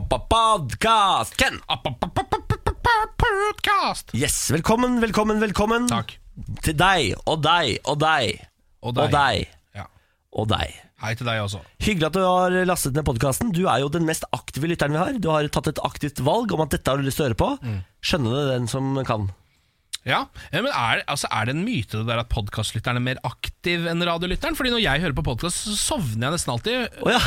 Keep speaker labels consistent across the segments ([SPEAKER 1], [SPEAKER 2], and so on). [SPEAKER 1] Podcast! Ken!
[SPEAKER 2] Podcast!
[SPEAKER 1] Yes, velkommen, velkommen, velkommen
[SPEAKER 2] Takk.
[SPEAKER 1] Til deg, og deg, og deg
[SPEAKER 2] Og
[SPEAKER 1] Og deg,
[SPEAKER 2] Ja.
[SPEAKER 1] og deg
[SPEAKER 2] Hei til deg også.
[SPEAKER 1] Hyggelig at du har lastet ned podcasten Du er jo den mest aktive lytteren vi har Du har tatt et aktivt valg om at dette har du lyst til å høre på
[SPEAKER 2] Mm.
[SPEAKER 1] Skjønner du den som kan
[SPEAKER 2] Ja, ja men er, altså, er det en myte det der at podcastlytteren er mer aktiv enn radiolytteren? Fordi når jeg hører på podcast, så sovner jeg nesten alltid,
[SPEAKER 1] Åja,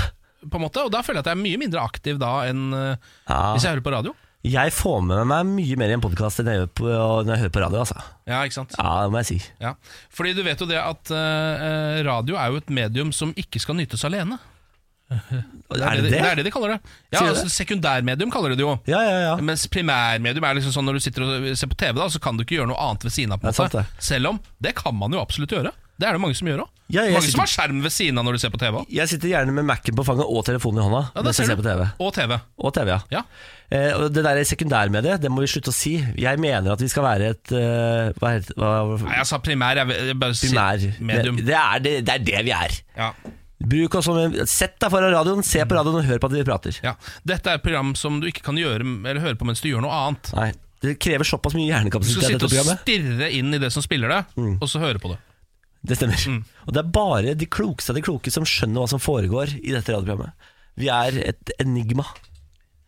[SPEAKER 2] på en måte, og da føler jeg at jeg er mye mindre aktiv da enn eh,
[SPEAKER 1] Ja.
[SPEAKER 2] hvis jeg hører på radio.
[SPEAKER 1] jeg får med meg mye mer i en podcast enn jeg gjør på, når jeg hører på radio altså.
[SPEAKER 2] Ja, ikke sant?
[SPEAKER 1] Ja, det må jeg si
[SPEAKER 2] Ja. Fordi du vet jo det at eh, eh, radio er jo et medium som ikke skal nytes alene.
[SPEAKER 1] Er det det?
[SPEAKER 2] Det er det de kaller det. Ja,
[SPEAKER 1] Sier du det?
[SPEAKER 2] altså, sekundærmedium kaller de det jo.
[SPEAKER 1] Ja, ja, ja
[SPEAKER 2] Mens primærmedium er liksom sånn når du sitter og ser på TV, da så kan du ikke gjøre noe annet ved siden av. på en
[SPEAKER 1] Det er sant,
[SPEAKER 2] måte. Selv om det kan man jo absolutt gjøre. Det er det mange som gjør òg.
[SPEAKER 1] Ja, jeg
[SPEAKER 2] mange
[SPEAKER 1] sitter-
[SPEAKER 2] som har skjerm ved siden av når du ser på TV. også.
[SPEAKER 1] Jeg sitter gjerne med Mac'en på fanget og telefonen i hånda
[SPEAKER 2] Ja, det
[SPEAKER 1] Mens jeg
[SPEAKER 2] ser
[SPEAKER 1] ser
[SPEAKER 2] du.
[SPEAKER 1] på TV
[SPEAKER 2] Og TV.
[SPEAKER 1] Og TV, ja
[SPEAKER 2] Ja.
[SPEAKER 1] Eh, og det der sekundærmediet, det må vi slutte å si. Jeg mener at vi skal være et eh, Hva heter hva,
[SPEAKER 2] Nei, jeg sa primær. Jeg, vil- jeg bare sier
[SPEAKER 1] Primær.
[SPEAKER 2] medium.
[SPEAKER 1] Det, det, er det, det er det vi er.
[SPEAKER 2] Ja,
[SPEAKER 1] Bruk oss som en- Sett deg foran radioen, se på radioen og hør på at vi prater.
[SPEAKER 2] ja. Dette er et program som du ikke kan gjøre, eller høre på mens du gjør noe annet.
[SPEAKER 1] Nei, Det krever såpass mye
[SPEAKER 2] Du skal
[SPEAKER 1] hjernekapasitet,
[SPEAKER 2] sitte
[SPEAKER 1] dette
[SPEAKER 2] og
[SPEAKER 1] programmet. Mm.
[SPEAKER 2] stirre inn i det som spiller det, og så høre på det.
[SPEAKER 1] Det stemmer.
[SPEAKER 2] Mm.
[SPEAKER 1] Og det er bare de klokeste av de kloke som skjønner hva som foregår i dette radioprogrammet. Vi er et enigma.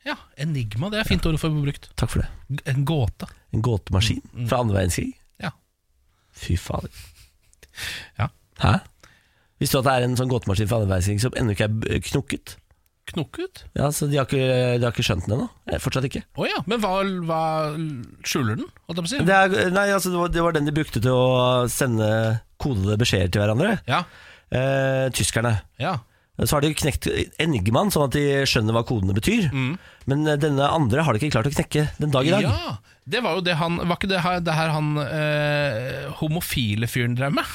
[SPEAKER 2] Ja, Enigma, det er fint ord å få brukt.
[SPEAKER 1] Takk for det.
[SPEAKER 2] G- En gåte.
[SPEAKER 1] En gåtemaskin fra andre verdenskrig.
[SPEAKER 2] Ja.
[SPEAKER 1] Fy fader.
[SPEAKER 2] Ja.
[SPEAKER 1] Hæ? Visste du at det er en sånn gåtemaskin fra andre verdenskrig som ennå ikke er b- knokket?
[SPEAKER 2] Knokkut?
[SPEAKER 1] Ja, så de har ikke, de har ikke skjønt den ennå? Eh, Fortsatt ikke.
[SPEAKER 2] Å ja, men hva, hva skjuler den? holdt jeg på å si?
[SPEAKER 1] Det, er, nei, altså, det, var, det var den de brukte til å sende kodede beskjeder til hverandre.
[SPEAKER 2] Ja,
[SPEAKER 1] Eh, tyskerne.
[SPEAKER 2] ja.
[SPEAKER 1] Så har de knekt enigmaen, sånn at de skjønner hva kodene betyr. Men eh, denne andre har de ikke klart å knekke den dag i dag.
[SPEAKER 2] Ja, det var jo det han Var ikke det her, det her han eh, homofile fyren drev med?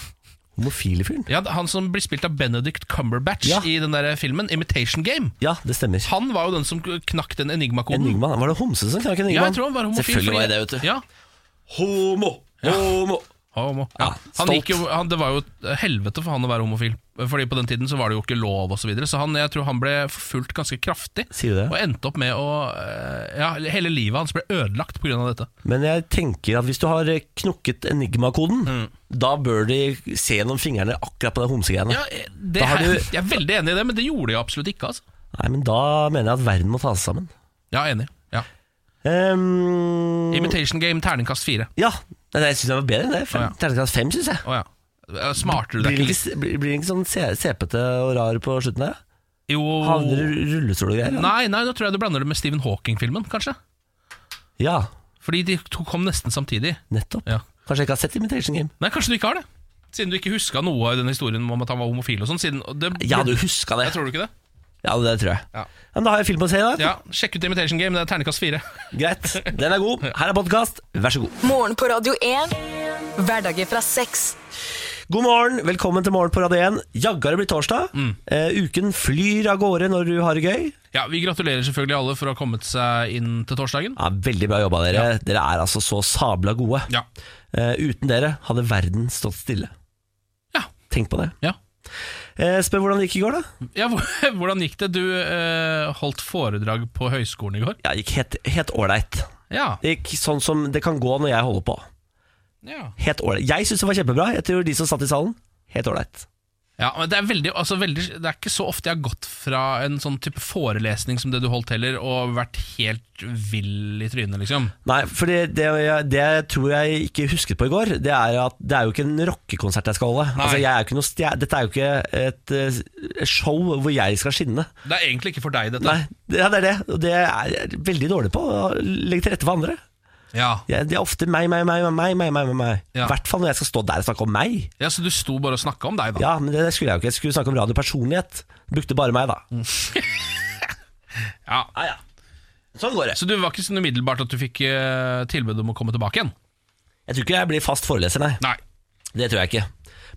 [SPEAKER 1] Homofile fyren.
[SPEAKER 2] Ja, Han som blir spilt av Benedict Cumberbatch
[SPEAKER 1] Ja.
[SPEAKER 2] i den der filmen Imitation Game.
[SPEAKER 1] Ja, det stemmer.
[SPEAKER 2] Han var jo den som knakk den enigmakoden.
[SPEAKER 1] Enigmaen. Var det homse som knakk enigmaen?
[SPEAKER 2] Ja, jeg tror han var homofil.
[SPEAKER 1] Selvfølgelig var
[SPEAKER 2] fordi-
[SPEAKER 1] jeg det, vet du.
[SPEAKER 2] Ja.
[SPEAKER 1] Homo! Homo!
[SPEAKER 2] Homo. Ja.
[SPEAKER 1] Ja,
[SPEAKER 2] Han
[SPEAKER 1] stolt.
[SPEAKER 2] gikk jo, han, det var jo et helvete for han å være homofil. Fordi På den tiden så var det jo ikke lov, og så, videre, så han, jeg tror han ble forfulgt ganske kraftig.
[SPEAKER 1] Sier du det?
[SPEAKER 2] Og endte opp med å eh, Ja, hele livet hans ble ødelagt pga. dette.
[SPEAKER 1] Men jeg tenker at hvis du har eh, knokket enigmakoden, da bør de se gjennom fingrene akkurat på de homsegreiene.
[SPEAKER 2] Ja, eh, det
[SPEAKER 1] Da har
[SPEAKER 2] her,
[SPEAKER 1] du-
[SPEAKER 2] Jeg er veldig enig i det, men det gjorde de absolutt ikke. altså
[SPEAKER 1] Nei, men da mener jeg at verden må ta seg sammen.
[SPEAKER 2] Ja, enig. Ja.
[SPEAKER 1] Ehm,
[SPEAKER 2] Imitation Game, terningkast fire.
[SPEAKER 1] ja, Nei, det syns jeg var bedre enn det. Fem-
[SPEAKER 2] Å, ja.
[SPEAKER 1] Terningkast fem, syns jeg.
[SPEAKER 2] Å ja. Eh, Smartere du
[SPEAKER 1] Blir
[SPEAKER 2] deg
[SPEAKER 1] den
[SPEAKER 2] ikke?
[SPEAKER 1] ikke, blir, blir den ikke sånn se- sepete og rar på slutten der?
[SPEAKER 2] litt? Jo
[SPEAKER 1] Havner i rullestol og greier? da?
[SPEAKER 2] Nei, nei, da tror jeg du blander det med Stephen Hawking-filmen, kanskje.
[SPEAKER 1] Ja,
[SPEAKER 2] Fordi de to kom nesten samtidig.
[SPEAKER 1] nettopp.
[SPEAKER 2] Ja.
[SPEAKER 1] Kanskje jeg ikke har sett Imitation Game.
[SPEAKER 2] Nei, kanskje du ikke har det? Siden du ikke huska noe i den historien om at han var homofil og sånn. Siden og det,
[SPEAKER 1] Ja, du huska det.
[SPEAKER 2] Jeg tror du ikke det?
[SPEAKER 1] Ja, det tror jeg.
[SPEAKER 2] Ja.
[SPEAKER 1] Men da har jeg film å se, da.
[SPEAKER 2] Ja, sjekk ut Imitation Game, det er terningkast fire.
[SPEAKER 1] Greit. Den er god. Her er podkast. Vær så god.
[SPEAKER 3] Morgen på Radio 1. Hverdager fra seks.
[SPEAKER 1] God morgen, velkommen til Morgen på Radio 1. Jaggu har det blitt torsdag.
[SPEAKER 2] Mm.
[SPEAKER 1] Eh, uken flyr av gårde når du har det gøy.
[SPEAKER 2] Ja, Vi gratulerer selvfølgelig alle for å ha kommet seg inn til torsdagen.
[SPEAKER 1] Ja, veldig bra jobba, dere. Dere er altså så sabla gode.
[SPEAKER 2] Ja.
[SPEAKER 1] Eh, uten dere hadde verden stått stille.
[SPEAKER 2] Ja.
[SPEAKER 1] Tenk på det.
[SPEAKER 2] Ja,
[SPEAKER 1] Eh, spør hvordan det gikk i går, da.
[SPEAKER 2] ja hvor- Hvordan gikk det? Du eh, holdt foredrag på høyskolen i går.
[SPEAKER 1] Ja, det gikk helt- helt ålreit.
[SPEAKER 2] Ja.
[SPEAKER 1] Det gikk sånn som det kan gå når jeg holder på.
[SPEAKER 2] ja.
[SPEAKER 1] Helt ålreit. Jeg syns det var kjempebra. Jeg tror de som satt i salen, helt ålreit.
[SPEAKER 2] Ja, men det er, veldig, altså veldig, det er ikke så ofte jeg har gått fra en sånn type forelesning som det du holdt heller, og vært helt vill i trynet, liksom.
[SPEAKER 1] Nei, for det, det, jeg- det jeg tror jeg ikke husket på i går, det er at det er jo ikke en rockekonsert jeg skal holde.
[SPEAKER 2] Nei.
[SPEAKER 1] Altså, jeg er jo ikke noe stjer- Dette er jo ikke et eh, show hvor jeg skal skinne.
[SPEAKER 2] Det er egentlig ikke for deg, dette.
[SPEAKER 1] Nei, det, ja, det er det. Og det er jeg veldig dårlig på. Å legge til rette for andre.
[SPEAKER 2] Ja.
[SPEAKER 1] Jeg, det er ofte meg, meg, meg, meg, meg, meg. meg, meg. I
[SPEAKER 2] Ja.
[SPEAKER 1] hvert fall når jeg skal stå der og snakke om meg.
[SPEAKER 2] ja, Så du sto bare og snakka om deg, da?
[SPEAKER 1] Ja, men det skulle jeg jo ikke. Jeg skulle snakke om radiopersonlighet. Brukte bare meg, da.
[SPEAKER 2] Mm. Ja.
[SPEAKER 1] Ja, ja. Sånn går det.
[SPEAKER 2] Så du var ikke sånn umiddelbart at du fikk eh, tilbud om å komme tilbake igjen?
[SPEAKER 1] Jeg tror ikke jeg blir fast foreleser, nei.
[SPEAKER 2] Nei.
[SPEAKER 1] Det tror jeg ikke.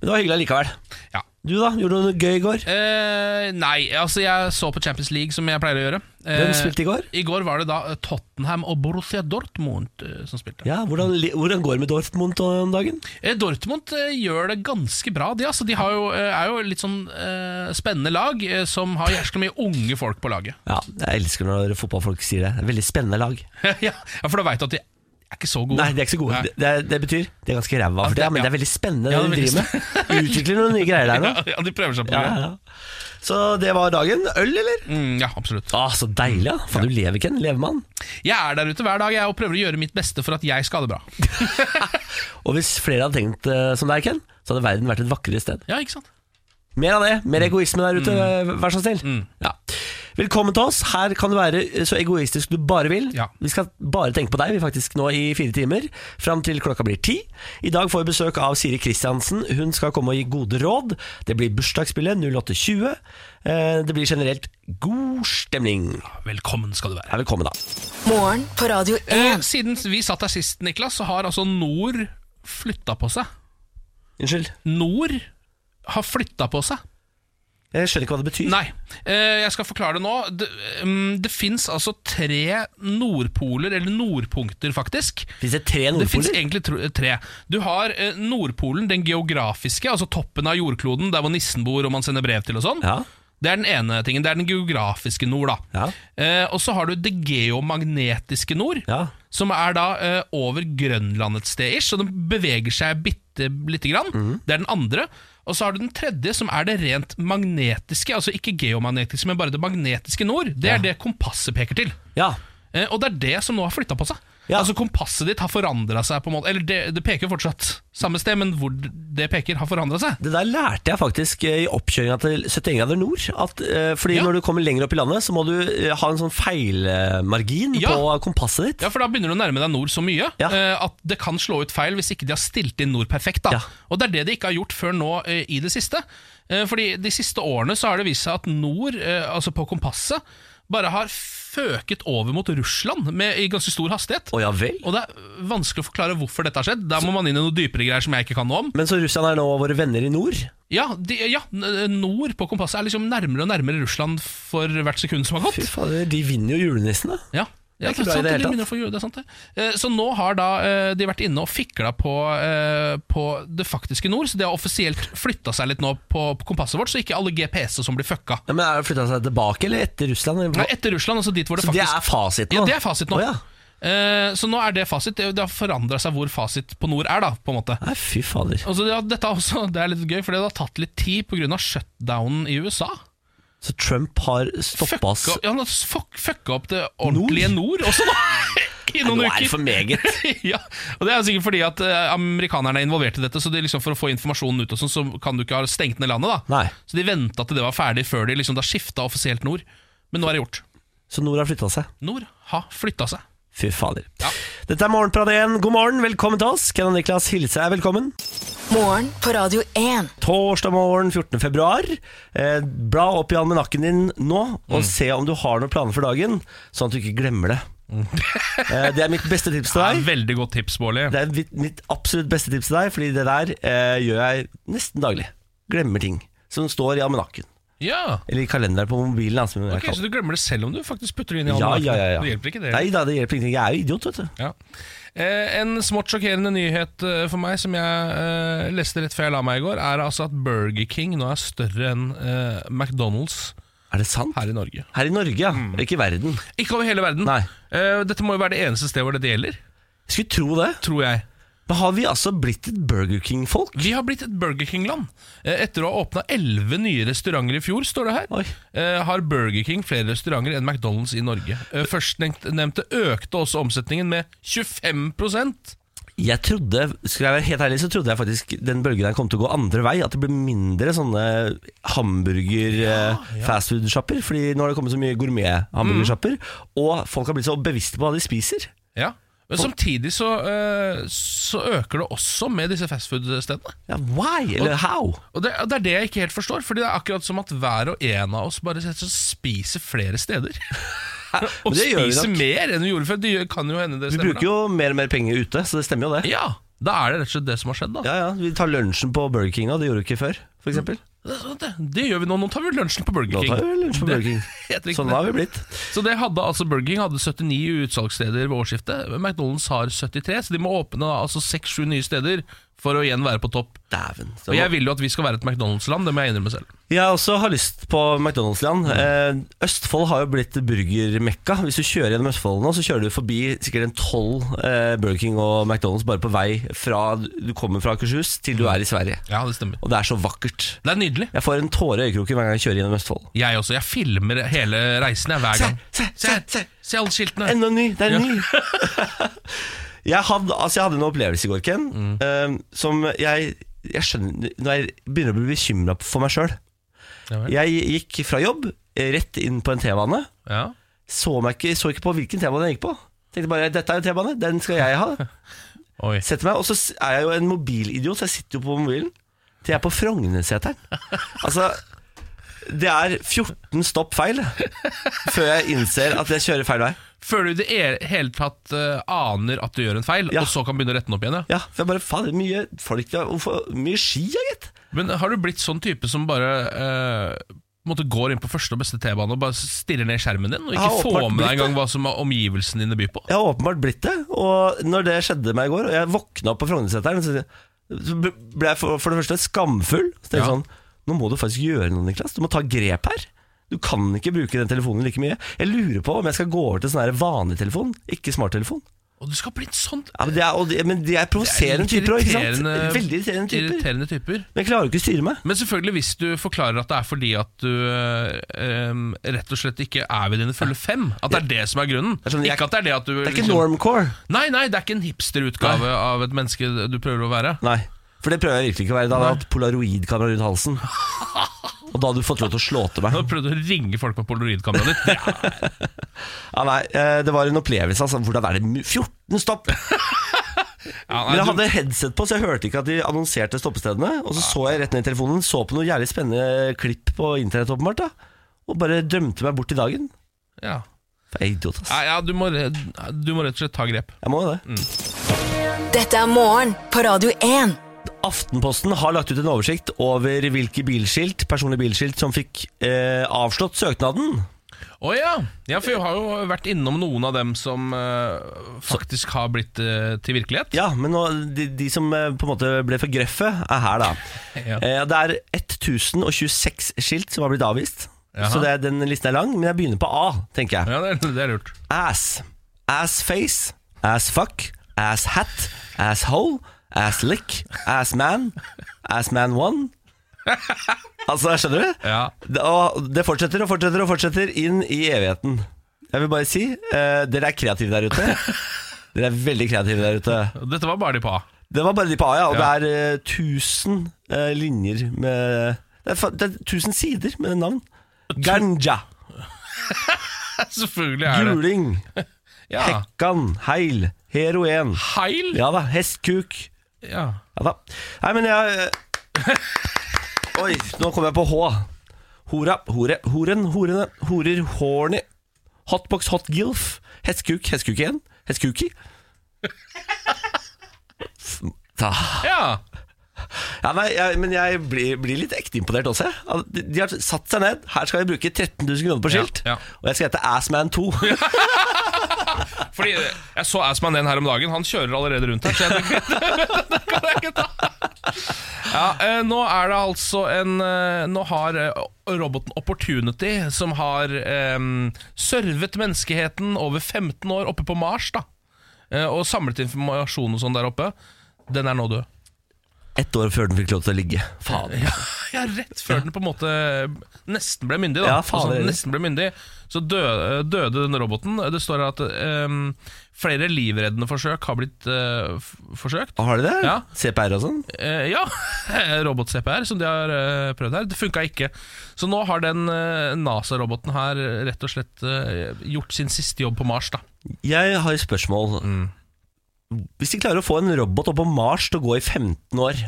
[SPEAKER 1] Men det var hyggelig allikevel.
[SPEAKER 2] Ja.
[SPEAKER 1] Du, da? Gjorde du noe gøy i går?
[SPEAKER 2] Eh, nei, altså jeg så på Champions League, som jeg pleier å gjøre. Eh,
[SPEAKER 1] Hvem spilte i går?
[SPEAKER 2] I går var det da eh, Tottenham og Borussia Dortmund eh, som spilte.
[SPEAKER 1] Ja, hvordan, li- hvordan går det med Dortmund om dagen?
[SPEAKER 2] Eh, Dortmund eh, gjør det ganske bra. De, altså, de har jo, eh, er jo litt sånn eh, spennende lag eh, som har jæskla mye unge folk på laget.
[SPEAKER 1] Ja, Jeg elsker når fotballfolk sier det. Det er Veldig spennende lag.
[SPEAKER 2] ja, for da veit du at de er ikke så gode.
[SPEAKER 1] Nei, de er ikke så gode.
[SPEAKER 2] Nei.
[SPEAKER 1] Det, det- det betyr de er ganske ræva for
[SPEAKER 2] Ja,
[SPEAKER 1] tida, men
[SPEAKER 2] ja.
[SPEAKER 1] det er veldig spennende
[SPEAKER 2] Ja,
[SPEAKER 1] det
[SPEAKER 2] det
[SPEAKER 1] de
[SPEAKER 2] er
[SPEAKER 1] driver med. Utvikler noen nye greier der nå.
[SPEAKER 2] Ja, ja, de prøver seg på
[SPEAKER 1] Ja,
[SPEAKER 2] det.
[SPEAKER 1] ja, ja. Så det var dagen. Øl, eller?
[SPEAKER 2] Mm, ja, absolutt.
[SPEAKER 1] Ah, så deilig, ja. Faen, du lever ikke en levemann.
[SPEAKER 2] Jeg er der ute hver dag jeg, og prøver å gjøre mitt beste for at jeg skal ha det bra.
[SPEAKER 1] Og hvis flere hadde tenkt eh, som deg, Ken, så hadde verden vært et vakrere sted.
[SPEAKER 2] Ja, ikke sant?
[SPEAKER 1] Mer av det. Mer egoisme der ute, eh, vær så snill.
[SPEAKER 2] Mm.
[SPEAKER 1] Ja. Velkommen til oss. Her kan du være så egoistisk du bare vil.
[SPEAKER 2] Ja.
[SPEAKER 1] Vi skal bare tenke på deg vi faktisk nå i fire timer, fram til klokka blir ti. I dag får vi besøk av Siri Kristiansen. Hun skal komme og gi gode råd. Det blir bursdagsspillet 08.20. Eh, Det blir generelt god stemning.
[SPEAKER 2] Velkommen skal du være.
[SPEAKER 1] Ja, velkommen, da.
[SPEAKER 3] Morgen på Radio
[SPEAKER 2] Eh,
[SPEAKER 3] 1.
[SPEAKER 2] Siden vi satt her sist, Niklas, så har altså Nord flytta på seg.
[SPEAKER 1] Unnskyld.
[SPEAKER 2] Nord har flytta på seg.
[SPEAKER 1] Jeg skjønner ikke hva det betyr.
[SPEAKER 2] Nei, eh, jeg skal forklare det nå. Det, um, det fins altså tre nordpoler, eller nordpunkter, faktisk.
[SPEAKER 1] Fins det tre
[SPEAKER 2] Det fins
[SPEAKER 1] nordpoler?
[SPEAKER 2] egentlig tro- eh, tre. Du har eh, Nordpolen, den geografiske, altså toppen av jordkloden, der hvor nissen bor og man sender brev til og sånn.
[SPEAKER 1] Ja.
[SPEAKER 2] Det er den ene tingen. Det er den geografiske nord, da.
[SPEAKER 1] Ja.
[SPEAKER 2] Eh, og så har du det geomagnetiske nord,
[SPEAKER 1] Ja.
[SPEAKER 2] som er da eh, over Grønland et sted ish, så den beveger seg bitte lite grann. Det er den andre. Og så har du den tredje, som er det rent magnetiske, altså ikke geomagnetiske, men bare det magnetiske nord. Det er det kompasset peker til.
[SPEAKER 1] ja.
[SPEAKER 2] Eh, og det er det som nå har flytta på seg.
[SPEAKER 1] Ja.
[SPEAKER 2] Altså Kompasset ditt har forandra seg. på en måte Eller det, det peker fortsatt samme sted, men hvor det peker, har forandra seg.
[SPEAKER 1] Det der lærte jeg faktisk eh, i oppkjøringa til 71 grader nord. At, eh, fordi
[SPEAKER 2] Ja.
[SPEAKER 1] når du kommer lenger opp i landet, så må du eh, ha en sånn feilmargin
[SPEAKER 2] Ja.
[SPEAKER 1] på kompasset ditt.
[SPEAKER 2] Ja, For da begynner du å nærme deg nord så mye
[SPEAKER 1] Ja.
[SPEAKER 2] eh, at det kan slå ut feil hvis ikke de har stilt inn nord perfekt. da
[SPEAKER 1] Ja.
[SPEAKER 2] Og det er det de ikke har gjort før nå eh, i det siste. Eh, fordi de siste årene så har det vist seg at nord, eh, altså på kompasset, bare har føket over mot Russland med, i ganske stor hastighet.
[SPEAKER 1] Å ja vel?
[SPEAKER 2] Og det er vanskelig å forklare hvorfor dette har skjedd. Da må man inn i noen dypere greier som jeg ikke kan noe om.
[SPEAKER 1] Men så Russland er nå våre venner i nord?
[SPEAKER 2] Ja, de, ja, n- nord på kompasset er liksom nærmere og nærmere Russland for hvert sekund som har
[SPEAKER 1] Fy
[SPEAKER 2] gått.
[SPEAKER 1] fader, de vinner jo julenissene.
[SPEAKER 2] Ja,
[SPEAKER 1] Det er ikke bra i
[SPEAKER 2] sant,
[SPEAKER 1] det hele
[SPEAKER 2] de
[SPEAKER 1] tatt.
[SPEAKER 2] begynner å få gjøre det, sant det. Eh, Så nå har da eh, de vært inne og fikla på, eh, på det faktiske nord, så det har offisielt flytta seg litt nå på, på kompasset vårt, så ikke alle GPS-er som blir fucka.
[SPEAKER 1] Ja, men er det Flytta seg tilbake, eller etter Russland? eller hva?
[SPEAKER 2] Nei, etter Russland, altså dit hvor det
[SPEAKER 1] så det
[SPEAKER 2] faktisk
[SPEAKER 1] er fasit nå?
[SPEAKER 2] Ja, det er fasit nå.
[SPEAKER 1] Å, ja.
[SPEAKER 2] Eh, Så nå er det fasit. Det det har forandra seg hvor fasit på nord er, da, på en måte.
[SPEAKER 1] Nei, fy fader.
[SPEAKER 2] Altså, det, har- dette har også, det er litt gøy, for det har tatt litt tid pga. shutdownen i USA.
[SPEAKER 1] Så Trump har
[SPEAKER 2] Fucka-
[SPEAKER 1] stoppa oss
[SPEAKER 2] Ja, han har fuck, fucka opp det ordentlige nord, også nå, i
[SPEAKER 1] Nå
[SPEAKER 2] noen
[SPEAKER 1] er det
[SPEAKER 2] uker.
[SPEAKER 1] for meget.
[SPEAKER 2] ja, og Det er sikkert fordi at eh, amerikanerne er involvert i dette, så de liksom for å få informasjonen ut, og sånn, så kan du ikke ha stengt ned landet. da
[SPEAKER 1] Nei.
[SPEAKER 2] Så de venta til det var ferdig, før de liksom da skifta offisielt nord. Men nå er det gjort.
[SPEAKER 1] Så nord har flytta seg.
[SPEAKER 2] Nord har flytta seg.
[SPEAKER 1] Fy fader.
[SPEAKER 2] Ja.
[SPEAKER 1] Dette er Morgenprat 1. God morgen, velkommen til oss. Ken og Niklas Hilse er velkommen.
[SPEAKER 3] Morgen på Radio 1.
[SPEAKER 1] Torsdag morgen 14. februar. Eh, bla opp i almanakken din nå,
[SPEAKER 2] Mm.
[SPEAKER 1] og se om du har noen planer for dagen, sånn at du ikke glemmer det.
[SPEAKER 2] Mm.
[SPEAKER 1] eh, det er mitt beste tips til
[SPEAKER 2] Det er
[SPEAKER 1] deg.
[SPEAKER 2] et veldig godt tips, Bårli.
[SPEAKER 1] Det er mitt, mitt absolutt beste tips til deg, fordi det der eh, gjør jeg nesten daglig. Glemmer ting som står i almanakken.
[SPEAKER 2] Ja.
[SPEAKER 1] Eller i kalenderen på mobilen. da, som jeg
[SPEAKER 2] Ok,
[SPEAKER 1] kaller
[SPEAKER 2] Så du glemmer det selv om du faktisk putter det inn i
[SPEAKER 1] det. ja,
[SPEAKER 2] almanakken?
[SPEAKER 1] ja, ja, ja.
[SPEAKER 2] Det hjelper ikke, det.
[SPEAKER 1] Nei da, det hjelper ingenting. Jeg er jo idiot, vet du.
[SPEAKER 2] Ja. Eh, en smått sjokkerende nyhet eh, for meg som jeg eh, leste rett før jeg la meg i går, er altså at Burger King nå er større enn eh, McDonald's
[SPEAKER 1] Er det sant?
[SPEAKER 2] her Mm. i Norge.
[SPEAKER 1] Her i Norge, ja. Ikke i verden.
[SPEAKER 2] Ikke over hele verden.
[SPEAKER 1] Nei.
[SPEAKER 2] Eh, dette må jo være det eneste stedet hvor det gjelder,
[SPEAKER 1] Skulle tro det.
[SPEAKER 2] tror jeg.
[SPEAKER 1] Men har vi altså blitt et Burger King-folk?
[SPEAKER 2] Vi har blitt et Burger King-land. Eh, etter å ha åpna elleve nye restauranter i fjor, står det her,
[SPEAKER 1] Oi.
[SPEAKER 2] eh, har Burger King flere restauranter enn McDonald's i Norge. Eh, Førstnevnte økte også omsetningen med 25
[SPEAKER 1] Jeg trodde, skal jeg være helt ærlig, så trodde jeg faktisk den bølgen her kom til å gå andre vei. At det ble mindre sånne hamburger-fastfood-shopper. Fordi nå har det kommet så mye gourmet-hamburger-shopper.
[SPEAKER 2] Mm.
[SPEAKER 1] Og folk har blitt så bevisste på hva de spiser.
[SPEAKER 2] Ja, men samtidig så, eh, så øker det også med disse fastfood-stedene.
[SPEAKER 1] Ja, why? Eller how?
[SPEAKER 2] Og det, og det er det jeg ikke helt forstår, Fordi det er akkurat som at hver og en av oss bare setter seg og spiser flere steder. og
[SPEAKER 1] Men det gjør vi
[SPEAKER 2] spiser
[SPEAKER 1] nok.
[SPEAKER 2] mer enn vi gjorde før. Det gjør- kan jo hende det
[SPEAKER 1] Vi
[SPEAKER 2] stemmer.
[SPEAKER 1] bruker jo mer og mer penger ute, så det stemmer jo
[SPEAKER 2] da.
[SPEAKER 1] det.
[SPEAKER 2] Ja, Mm. da er det rett og slett det som har skjedd, da.
[SPEAKER 1] Ja, ja, Vi tar lunsjen på Burger King nå, det gjorde vi ikke før, f.eks.
[SPEAKER 2] Det, det gjør vi nå. Nå tar vi lunsjen på Burger
[SPEAKER 1] Nå
[SPEAKER 2] King.
[SPEAKER 1] tar vi lunsj på Burger King.
[SPEAKER 2] Helt riktig.
[SPEAKER 1] Sånn har vi blitt.
[SPEAKER 2] Så det hadde altså Burger King hadde 79 utsalgssteder ved årsskiftet. McDonald's har 73, så de må åpne da, altså 6-7 nye steder for å igjen være på topp.
[SPEAKER 1] Dæven. Så
[SPEAKER 2] Og
[SPEAKER 1] nå-
[SPEAKER 2] jeg vil jo at vi skal være et McDonald's-land, det må jeg innrømme selv.
[SPEAKER 1] Jeg også har lyst på McDonald's-land.
[SPEAKER 2] Mm.
[SPEAKER 1] Eh, Østfold har jo blitt burgermekka. Hvis du kjører gjennom Østfold nå, så kjører du forbi sikkert en tolv eh, Burger King og McDonald's bare på vei fra du kommer fra Akershus til
[SPEAKER 2] Mm.
[SPEAKER 1] du er i Sverige.
[SPEAKER 2] Ja, det stemmer.
[SPEAKER 1] Og det er så vakkert.
[SPEAKER 2] Det er nydelig.
[SPEAKER 1] Jeg får en tåre i øyekroken hver gang jeg kjører gjennom Østfold.
[SPEAKER 2] Jeg også. Jeg filmer hele reisen jeg, hver
[SPEAKER 1] Se,
[SPEAKER 2] gang.
[SPEAKER 1] se, se, se.
[SPEAKER 2] se alle skiltene.
[SPEAKER 1] Enda en ny! Det er en
[SPEAKER 2] Ja.
[SPEAKER 1] ny! jeg, hadde, altså, jeg hadde en opplevelse i går, Ken,
[SPEAKER 2] Mm.
[SPEAKER 1] eh, som jeg, jeg skjønner Når jeg begynner å bli bekymra for meg sjøl.
[SPEAKER 2] Ja, vel.
[SPEAKER 1] Jeg gikk fra jobb eh, rett inn på en T-bane.
[SPEAKER 2] ja.
[SPEAKER 1] så, meg ikke, så ikke på hvilken T-bane jeg gikk på. Tenkte bare dette er jo T-bane, den skal jeg ha.
[SPEAKER 2] Oi.
[SPEAKER 1] Setter meg, Og så s- er jeg jo en mobilidiot, så jeg sitter jo på mobilen til jeg er på Frognerseteren. Altså, det er 14 stopp feil før jeg innser at jeg kjører feil vei.
[SPEAKER 2] Før du i det e- hele tatt eh, aner at du gjør en feil,
[SPEAKER 1] Ja.
[SPEAKER 2] og så kan begynne å rette den opp igjen. Ja.
[SPEAKER 1] Ja, for jeg bare, faen, det er mye folk der, hvorfor, Mye ski, ja, gitt.
[SPEAKER 2] Men har du blitt sånn type som bare eh, måtte går inn på første og beste T-bane og bare stirrer ned i skjermen din, og
[SPEAKER 1] Jeg har
[SPEAKER 2] ikke får
[SPEAKER 1] åpenbart
[SPEAKER 2] med deg
[SPEAKER 1] blitt
[SPEAKER 2] engang hva som omgivelsene dine byr på?
[SPEAKER 1] Jeg har åpenbart blitt det. Og når det skjedde meg i går, og jeg våkna opp på Frognerseteren, så så ble jeg for, for det første skamfull. Så tenkte jeg
[SPEAKER 2] Ja.
[SPEAKER 1] sånn Nå må du faktisk gjøre noe, Niklas. Du må ta grep her. Du kan ikke bruke den telefonen like mye. Jeg lurer på om jeg skal gå over til sånn her vanlig telefon, ikke smarttelefon.
[SPEAKER 2] Og du skal ha blitt sånn
[SPEAKER 1] Ja, men, det er, og det, men de er provoserende typer òg, ikke sant?
[SPEAKER 2] irriterende-
[SPEAKER 1] Veldig irriterende typer.
[SPEAKER 2] irriterende typer.
[SPEAKER 1] Men jeg klarer jo ikke å styre meg.
[SPEAKER 2] Men selvfølgelig hvis du forklarer at det er fordi at du eh, em, rett og slett ikke er ved dine fulle fem. At det er det som er grunnen.
[SPEAKER 1] er sånn, jeg-
[SPEAKER 2] ikke at det er det at du
[SPEAKER 1] Det er ikke
[SPEAKER 2] liksom-
[SPEAKER 1] normcore.
[SPEAKER 2] Nei, nei, det er ikke en hipsterutgave av et menneske du prøver å være.
[SPEAKER 1] Nei. For det prøver jeg virkelig ikke å være. Da hadde jeg hatt polaroidkamera rundt halsen. Og da hadde du fått lov til å slå til meg.
[SPEAKER 2] Nå prøvde du å ringe folk med polaroidkameraet ditt. Ja,
[SPEAKER 1] Ja, nei, eh, det var en opplevelse. Altså. Hvordan er det mu- 14 stopp!
[SPEAKER 2] ja,
[SPEAKER 1] Men jeg
[SPEAKER 2] nei, du,
[SPEAKER 1] hadde headset på, så jeg hørte ikke at de annonserte stoppestedene. Og så så jeg rett ned i telefonen, så på noe jævlig spennende klipp på internett, åpenbart. da Og bare drømte meg bort i dagen.
[SPEAKER 2] ja.
[SPEAKER 1] Jeg er idiot, ass.
[SPEAKER 2] Ja, ja, du, må, re- du må rett og slett ta grep.
[SPEAKER 1] Jeg må jo det.
[SPEAKER 3] Dette er morgen på Radio 1.
[SPEAKER 1] Aftenposten har lagt ut en oversikt over hvilke bilskilt, personlige bilskilt som fikk eh, avslått søknaden.
[SPEAKER 2] Å ja. ja, for vi har jo vært innom noen av dem som eh, faktisk har blitt eh, til virkelighet.
[SPEAKER 1] Ja, men nå, de, de som eh, på en måte ble for grøffe, er her, da.
[SPEAKER 2] Ja.
[SPEAKER 1] Eh, det er 1026 skilt som har blitt avvist.
[SPEAKER 2] Jaha.
[SPEAKER 1] Så det, er- den listen er lang, men jeg begynner på A, tenker jeg.
[SPEAKER 2] Ja, det er, det er lurt.
[SPEAKER 1] ass, ass face, ass fuck, ass hat, ass hole, ass lick, ass man, ass man one. Altså, skjønner du?
[SPEAKER 2] Ja.
[SPEAKER 1] Det, og det fortsetter og fortsetter og fortsetter inn i evigheten. Jeg vil bare si, eh, dere er kreative der ute. Dere er veldig kreative der ute.
[SPEAKER 2] Dette var bare de på A.
[SPEAKER 1] Det var bare de på A, ja. Og
[SPEAKER 2] Ja.
[SPEAKER 1] det er eh, tusen eh, linjer med Det er, fa- det er 1000 sider med navn. Ganja,
[SPEAKER 2] Selvfølgelig er det
[SPEAKER 1] guling,
[SPEAKER 2] ja.
[SPEAKER 1] hekkan, heil, heroen.
[SPEAKER 2] Heil?
[SPEAKER 1] Ja da, hestkuk.
[SPEAKER 2] Ja.
[SPEAKER 1] Ja da. Nei, men jeg eh, Oi, nå kom jeg på H. Hora, hore, horen, horene, horer, horny. Hotbox, hotgilf. Hestkuk, hestkuk igjen. Hestkuki. F- Da.
[SPEAKER 2] ja.
[SPEAKER 1] Ja, nei, jeg, men jeg blir, blir litt ekte imponert også. jeg. Al- De, de har satt seg ned. Her skal jeg bruke 13 000 kroner på
[SPEAKER 2] Ja,
[SPEAKER 1] skilt.
[SPEAKER 2] ja.
[SPEAKER 1] Og jeg skal hete Assman 2.
[SPEAKER 2] Fordi jeg så Assman en her om dagen. Han kjører allerede rundt her. Så jeg tenkte, det kan jeg ikke ta. Ja, eh, nå er det altså en eh, Nå har eh, roboten Opportunity, som har eh, servet menneskeheten over 15 år oppe på Mars, da eh, og samlet informasjon og sånn der oppe, den er nå død.
[SPEAKER 1] Ett år før den fikk lov til å ligge. Faen.
[SPEAKER 2] Ja, ja, rett før den på en måte nesten ble myndig.
[SPEAKER 1] Ja,
[SPEAKER 2] Da.
[SPEAKER 1] faen,
[SPEAKER 2] Altså,
[SPEAKER 1] det er det.
[SPEAKER 2] nesten ble myndig Så døde, døde den roboten. Det står at ehm, flere livreddende forsøk har blitt eh, f- forsøkt.
[SPEAKER 1] Ah, Har de det?
[SPEAKER 2] Ja.
[SPEAKER 1] CPR og sånn?
[SPEAKER 2] Eh, ja, robot-CPR, som de har eh, prøvd her. Det funka ikke. Så nå har den eh, NASA-roboten her rett og slett eh, gjort sin siste jobb på Mars. da
[SPEAKER 1] Jeg har et spørsmål.
[SPEAKER 2] Mm.
[SPEAKER 1] Hvis de klarer å få en robot opp på Mars til å gå i 15 år,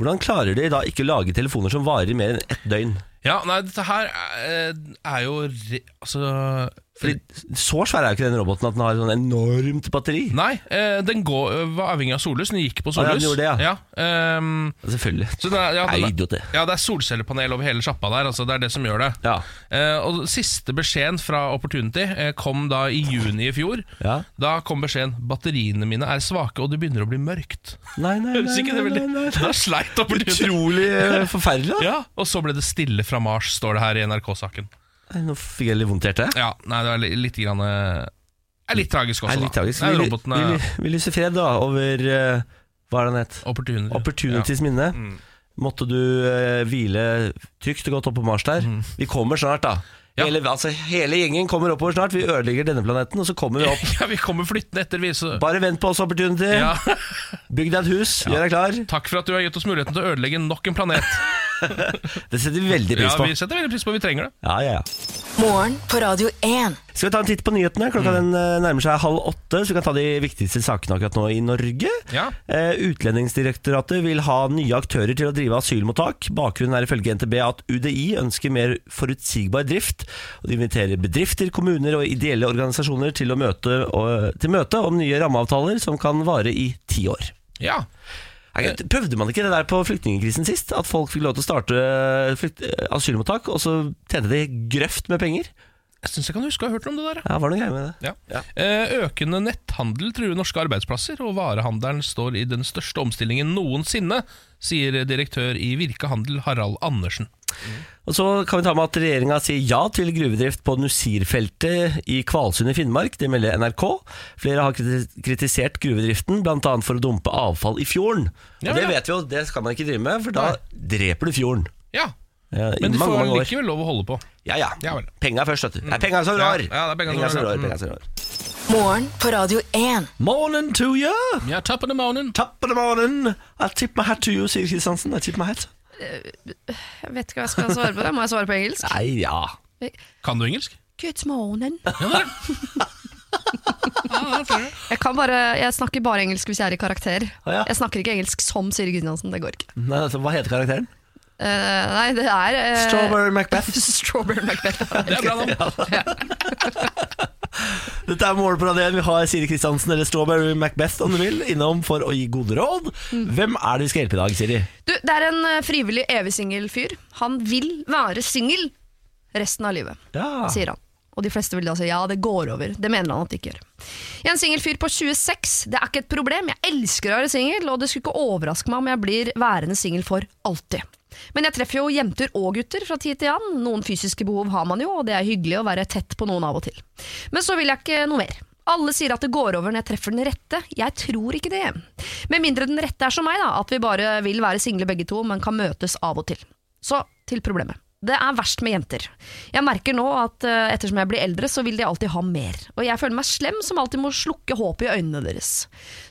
[SPEAKER 1] hvordan klarer de da ikke å lage telefoner som varer i mer enn ett døgn?
[SPEAKER 2] eh, Ja, nei, dette her er, er jo re, altså,
[SPEAKER 1] Fordi Så svær er jo ikke den roboten at den har sånn enormt batteri.
[SPEAKER 2] Nei, eh, den går, øh, var avhengig av sollys. Den gikk på
[SPEAKER 1] ja,
[SPEAKER 2] sollys.
[SPEAKER 1] den gjorde det, ja.
[SPEAKER 2] ehm,
[SPEAKER 1] Selvfølgelig.
[SPEAKER 2] så den er, ja,
[SPEAKER 1] Nei,
[SPEAKER 2] den
[SPEAKER 1] idiot, det.
[SPEAKER 2] er, ja, det er solcellepanel over hele sjappa der. Altså, det er det som gjør det.
[SPEAKER 1] Ja.
[SPEAKER 2] Eh, og Siste beskjeden fra Opportunity eh, kom da i juni i fjor.
[SPEAKER 1] Ja.
[SPEAKER 2] Da kom beskjeden 'batteriene mine er svake, og det begynner å bli mørkt'.
[SPEAKER 1] Nei, nei,
[SPEAKER 2] Høres ikke det veldig Da sleit Opportunity.
[SPEAKER 1] Utrolig eh, forferdelig, da.
[SPEAKER 2] Ja, Og så ble det stille fra Mars, står det her i NRK-saken.
[SPEAKER 1] Nei, Nå fikk jeg litt vondt i hjertet.
[SPEAKER 2] Ja, nei, det er li- litt grann eh, er litt tragisk
[SPEAKER 1] Det
[SPEAKER 2] også,
[SPEAKER 1] er litt
[SPEAKER 2] da.
[SPEAKER 1] tragisk.
[SPEAKER 2] Nei,
[SPEAKER 1] Vi,
[SPEAKER 2] roboten
[SPEAKER 1] vi,
[SPEAKER 2] er
[SPEAKER 1] vi, vi lyser fred, da, over eh, Hva er det han het?
[SPEAKER 2] Opportunity.
[SPEAKER 1] Opportunities minne.
[SPEAKER 2] Mm.
[SPEAKER 1] Måtte du eh, hvile trygt og godt opp på Mars der. Vi kommer snart, da.
[SPEAKER 2] Mm. Ja.
[SPEAKER 1] Hele, altså, hele gjengen kommer oppover snart. Vi ødelegger denne planeten, og så kommer vi opp.
[SPEAKER 2] Ja. ja, vi kommer flyttende etter, vi. Så.
[SPEAKER 1] Bare vent på oss, Opportunity.
[SPEAKER 2] Ja.
[SPEAKER 1] Bygg deg et hus, gjør deg klar.
[SPEAKER 2] Takk for at du har gitt oss muligheten til å ødelegge nok en planet.
[SPEAKER 1] Det setter vi veldig
[SPEAKER 2] Ja,
[SPEAKER 1] pris på.
[SPEAKER 2] Vi setter veldig pris på, vi trenger det.
[SPEAKER 1] Ja, ja, ja.
[SPEAKER 3] Morgen på Radio 1.
[SPEAKER 1] Skal vi ta en titt på nyhetene? Klokka den eh, nærmer seg halv åtte, så vi kan ta de viktigste sakene akkurat nå i Norge.
[SPEAKER 2] Ja.
[SPEAKER 1] Eh, Utlendingsdirektoratet vil ha nye aktører til å drive asylmottak. Bakgrunnen er ifølge NTB at UDI ønsker mer forutsigbar drift. Og de inviterer bedrifter, kommuner og ideelle organisasjoner til, å møte, og, til møte om nye rammeavtaler som kan vare i ti år.
[SPEAKER 2] Ja,
[SPEAKER 1] Er det- Prøvde man ikke det der på flyktningkrisen sist? At folk fikk lov til å starte eh, flykt, asylmottak, og så tjente de grøft med penger?
[SPEAKER 2] Jeg syns jeg kan huske å ha hørt om det der. ja.
[SPEAKER 1] Ja, var det noe greier med det?
[SPEAKER 2] Ja.
[SPEAKER 1] Ja.
[SPEAKER 2] Eh, Økende netthandel truer norske arbeidsplasser, og varehandelen står i den største omstillingen noensinne, sier direktør i Virke Handel, Harald Andersen.
[SPEAKER 1] Og så kan vi ta med at regjeringa sier ja til gruvedrift på Nusirfeltet i Kvalsund i Finnmark. Det melder NRK. Flere har kriti- kritisert gruvedriften, bl.a. for å dumpe avfall i fjorden.
[SPEAKER 2] Ja,
[SPEAKER 1] og det
[SPEAKER 2] ja.
[SPEAKER 1] vet vi jo, det skal man ikke drive med, for da dreper du fjorden.
[SPEAKER 2] Ja,
[SPEAKER 1] Ja, i
[SPEAKER 2] men de
[SPEAKER 1] mange,
[SPEAKER 2] får
[SPEAKER 1] mange år.
[SPEAKER 2] likevel lov å holde på.
[SPEAKER 1] Ja, ja.
[SPEAKER 2] Ja vel. Mm.
[SPEAKER 1] Penga først, vet du. Det er penga som
[SPEAKER 2] Ja,
[SPEAKER 1] rår!
[SPEAKER 2] ja, det er penga som
[SPEAKER 1] som
[SPEAKER 2] rår,
[SPEAKER 1] rår.
[SPEAKER 2] mm.
[SPEAKER 1] penga som rår.
[SPEAKER 3] Morgen på Radio 1.
[SPEAKER 1] Morning to you!
[SPEAKER 2] Ja, topp of the morning.
[SPEAKER 1] Top of the morning! I tip my hat to you, sier Kristiansen. I tip my hat.
[SPEAKER 4] Jeg vet ikke hva jeg skal svare på det. Må jeg svare på engelsk?
[SPEAKER 1] Nei, ja.
[SPEAKER 2] Kan du engelsk?
[SPEAKER 4] Good morning.
[SPEAKER 2] Ja, det tror jeg.
[SPEAKER 4] Jeg, kan bare, jeg snakker bare engelsk hvis jeg er i karakter.
[SPEAKER 1] Å, ja.
[SPEAKER 4] Jeg snakker ikke engelsk som Siri Kristiansen. Det går ikke.
[SPEAKER 1] Nei, altså, hva heter karakteren?
[SPEAKER 4] Eh, nei, det er eh,
[SPEAKER 1] Strawberry Macbeth.
[SPEAKER 4] Strawberry Macbeth.
[SPEAKER 2] Det er bra navn.
[SPEAKER 1] Dette er Morgen på Radio 1. Vi har Siri Kristiansen eller Strawberry Macbeth om du vil, innom for å gi gode råd.
[SPEAKER 2] Mm.
[SPEAKER 1] Hvem er det vi skal hjelpe i dag, Siri?
[SPEAKER 4] Du, det er en eh, frivillig evig singel fyr. Han vil være singel resten av livet,
[SPEAKER 1] Ja.
[SPEAKER 4] sier han. Og de fleste vil da si ja, det går over. Det mener han at det ikke gjør. Jeg er en singel fyr på 26. Det er ikke et problem. Jeg elsker å være singel, og det skulle ikke overraske meg om jeg blir værende singel for alltid. Men jeg treffer jo jenter og gutter fra tid til annen. Noen fysiske behov har man jo, og det er hyggelig å være tett på noen av og til. Men så vil jeg ikke noe mer. Alle sier at det går over når jeg treffer den rette. Jeg tror ikke det. Med mindre den rette er som meg, da, at vi bare vil være single begge to, men kan møtes av og til. Så til problemet. Det er verst med jenter. Jeg merker nå at eh, ettersom jeg blir eldre, så vil de alltid ha mer. Og jeg føler meg slem som alltid må slukke håpet i øynene deres.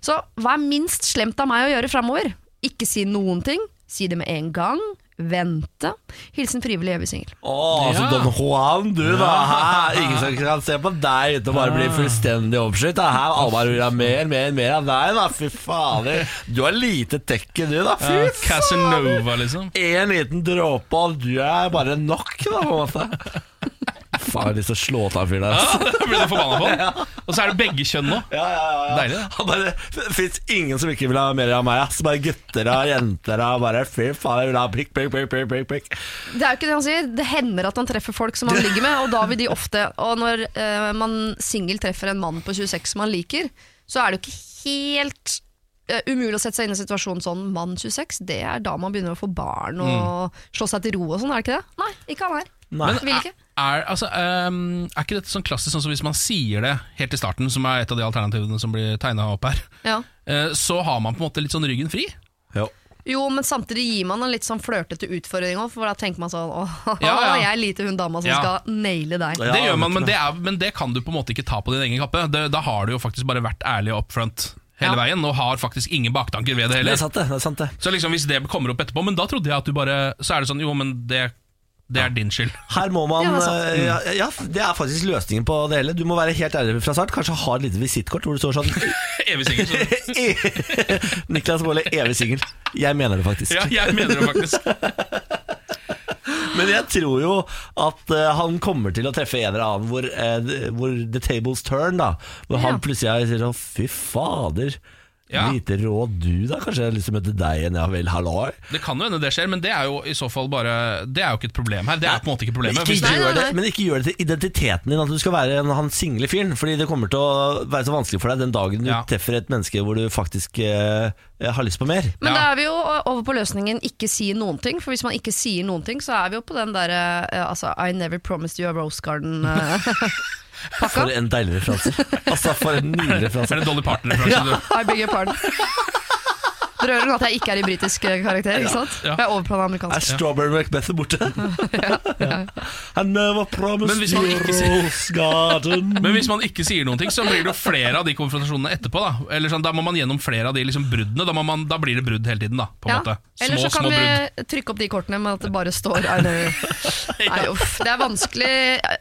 [SPEAKER 4] Så hva er minst slemt av meg å gjøre framover? Ikke si noen ting. Si det med en gang. Vente. Hilsen frivillig evig singel.
[SPEAKER 1] Å, så
[SPEAKER 2] Ja.
[SPEAKER 1] Don Juan, du da. Hæ? Ingen som kan se på deg uten å bare bli fullstendig oppskytt. da. Hæ? Alle bare vil ha mer, mer, mer av deg, da. Fy fader. Du har lite tekke, du, da. Fy
[SPEAKER 2] Ja,
[SPEAKER 1] fader.
[SPEAKER 2] Casanova, liksom.
[SPEAKER 1] Én liten dråpe, og du er bare nok, da, på en måte. Faen, jeg har lyst til å slå til han fyren der.
[SPEAKER 2] Ja, det blir du forbanna på. Og så er det begge kjønn nå.
[SPEAKER 1] Ja, ja, ja, ja.
[SPEAKER 2] Deilig, da.
[SPEAKER 1] Han bare, det fins ingen som ikke vil ha mer av meg. Ass. Bare gutter og jenter og bare fy faen, jeg vil ha prikk, prikk, prikk. prikk, prikk, prikk.
[SPEAKER 4] Det er jo ikke det han sier. Det hender at han treffer folk som han ligger med, og da vil de ofte Og når eh, man singel treffer en mann på 26 som han liker, så er det jo ikke helt eh, umulig å sette seg inn i situasjonen sånn mann 26, det er da man begynner å få barn
[SPEAKER 2] Mm.
[SPEAKER 4] og slå seg til ro og sånn, er det ikke det? Nei, ikke han her.
[SPEAKER 1] Nei.
[SPEAKER 4] Vil ikke.
[SPEAKER 2] Er, altså, ehm, er ikke dette sånn klassisk sånn som hvis man sier det helt i starten, som er et av de alternativene som blir tegna opp her,
[SPEAKER 4] Ja.
[SPEAKER 2] eh, så har man på en måte litt sånn ryggen fri?
[SPEAKER 1] Jo.
[SPEAKER 4] Jo, men samtidig gir man en litt sånn flørtete utfordring òg, for da tenker man sånn åh,
[SPEAKER 2] Ja, ja.
[SPEAKER 4] jeg er lite hun dama som
[SPEAKER 2] Ja.
[SPEAKER 4] skal naile deg.
[SPEAKER 1] Ja,
[SPEAKER 2] det gjør man,
[SPEAKER 1] vet
[SPEAKER 2] men
[SPEAKER 1] du
[SPEAKER 2] det, er, men det kan du på en måte ikke ta på din egen kappe. Det, da har du jo faktisk bare vært ærlig og upfront hele
[SPEAKER 4] Ja.
[SPEAKER 2] veien, og har faktisk ingen baktanker ved
[SPEAKER 1] Det
[SPEAKER 2] det
[SPEAKER 1] er
[SPEAKER 2] heller.
[SPEAKER 1] sant, det. det, er sant det.
[SPEAKER 2] Så liksom hvis det kommer opp etterpå, men da trodde jeg at du bare Så er det sånn, jo, men det, det er din skyld.
[SPEAKER 1] Her må man
[SPEAKER 4] Ja, det er sant.
[SPEAKER 1] eh, ja, ja, det er faktisk løsningen på det hele. Du må være helt ærlig fra start. Kanskje ha et lite visittkort hvor det står sånn
[SPEAKER 2] Evig singel. så-
[SPEAKER 1] Niklas Baarli, evig singel. Jeg mener det faktisk.
[SPEAKER 2] Ja, jeg mener det faktisk.
[SPEAKER 1] Men jeg tror jo at eh, han kommer til å treffe en eller annen hvor, eh, hvor the tables turn, da. Hvor
[SPEAKER 4] Ja.
[SPEAKER 1] han plutselig sier sånn Fy fader,
[SPEAKER 2] Ja.
[SPEAKER 1] lite rå du, da. Kanskje jeg har lyst til å møte deg igjen, ja vel, halloi.
[SPEAKER 2] Det kan jo hende det skjer, men det er jo i så fall bare Det er jo ikke et problem her. Det er på en måte ikke problemet.
[SPEAKER 1] Men
[SPEAKER 2] Hvis
[SPEAKER 1] ikke,
[SPEAKER 2] det,
[SPEAKER 4] Nei, nei,
[SPEAKER 1] gjør det,
[SPEAKER 4] nei.
[SPEAKER 1] men ikke gjør det til identiteten din at du skal være en, han single fyren. Fordi det kommer til å være så vanskelig for deg den dagen du
[SPEAKER 2] Ja.
[SPEAKER 1] treffer et menneske hvor du faktisk eh, har lyst på mer.
[SPEAKER 2] Ja.
[SPEAKER 4] Men da er vi jo over på løsningen ikke si noen ting. For hvis man ikke sier noen ting, så er vi jo på den derre eh, altså, I never promised you a rose garden. eh,
[SPEAKER 1] For en deilig referanse. Altså, for en nydelig
[SPEAKER 2] er
[SPEAKER 1] referanse.
[SPEAKER 2] det Dolly Parton-referanse?
[SPEAKER 4] I beg your pardon. Dere hører nå at jeg ikke er i britisk eh, karakter, ikke sant?
[SPEAKER 2] Ja.
[SPEAKER 4] Jeg er over på den
[SPEAKER 1] Er
[SPEAKER 4] amerikanske.
[SPEAKER 1] Strawberry Macbeth borte? I never
[SPEAKER 2] Men
[SPEAKER 1] promised
[SPEAKER 2] hvis man
[SPEAKER 1] you
[SPEAKER 2] ikke sier-
[SPEAKER 1] rose garden.
[SPEAKER 2] Men hvis man ikke sier noen ting, så blir det jo flere av de konfrontasjonene etterpå. Da Eller sånn, da må man gjennom flere av de liksom bruddene. Da, må man, da blir det brudd hele tiden, da. På en
[SPEAKER 4] Ja.
[SPEAKER 2] måte.
[SPEAKER 4] Eller
[SPEAKER 2] Små,
[SPEAKER 4] så kan
[SPEAKER 2] små brudd.
[SPEAKER 4] vi trykke opp de kortene med at det bare står I never Nei, uff, det er vanskelig.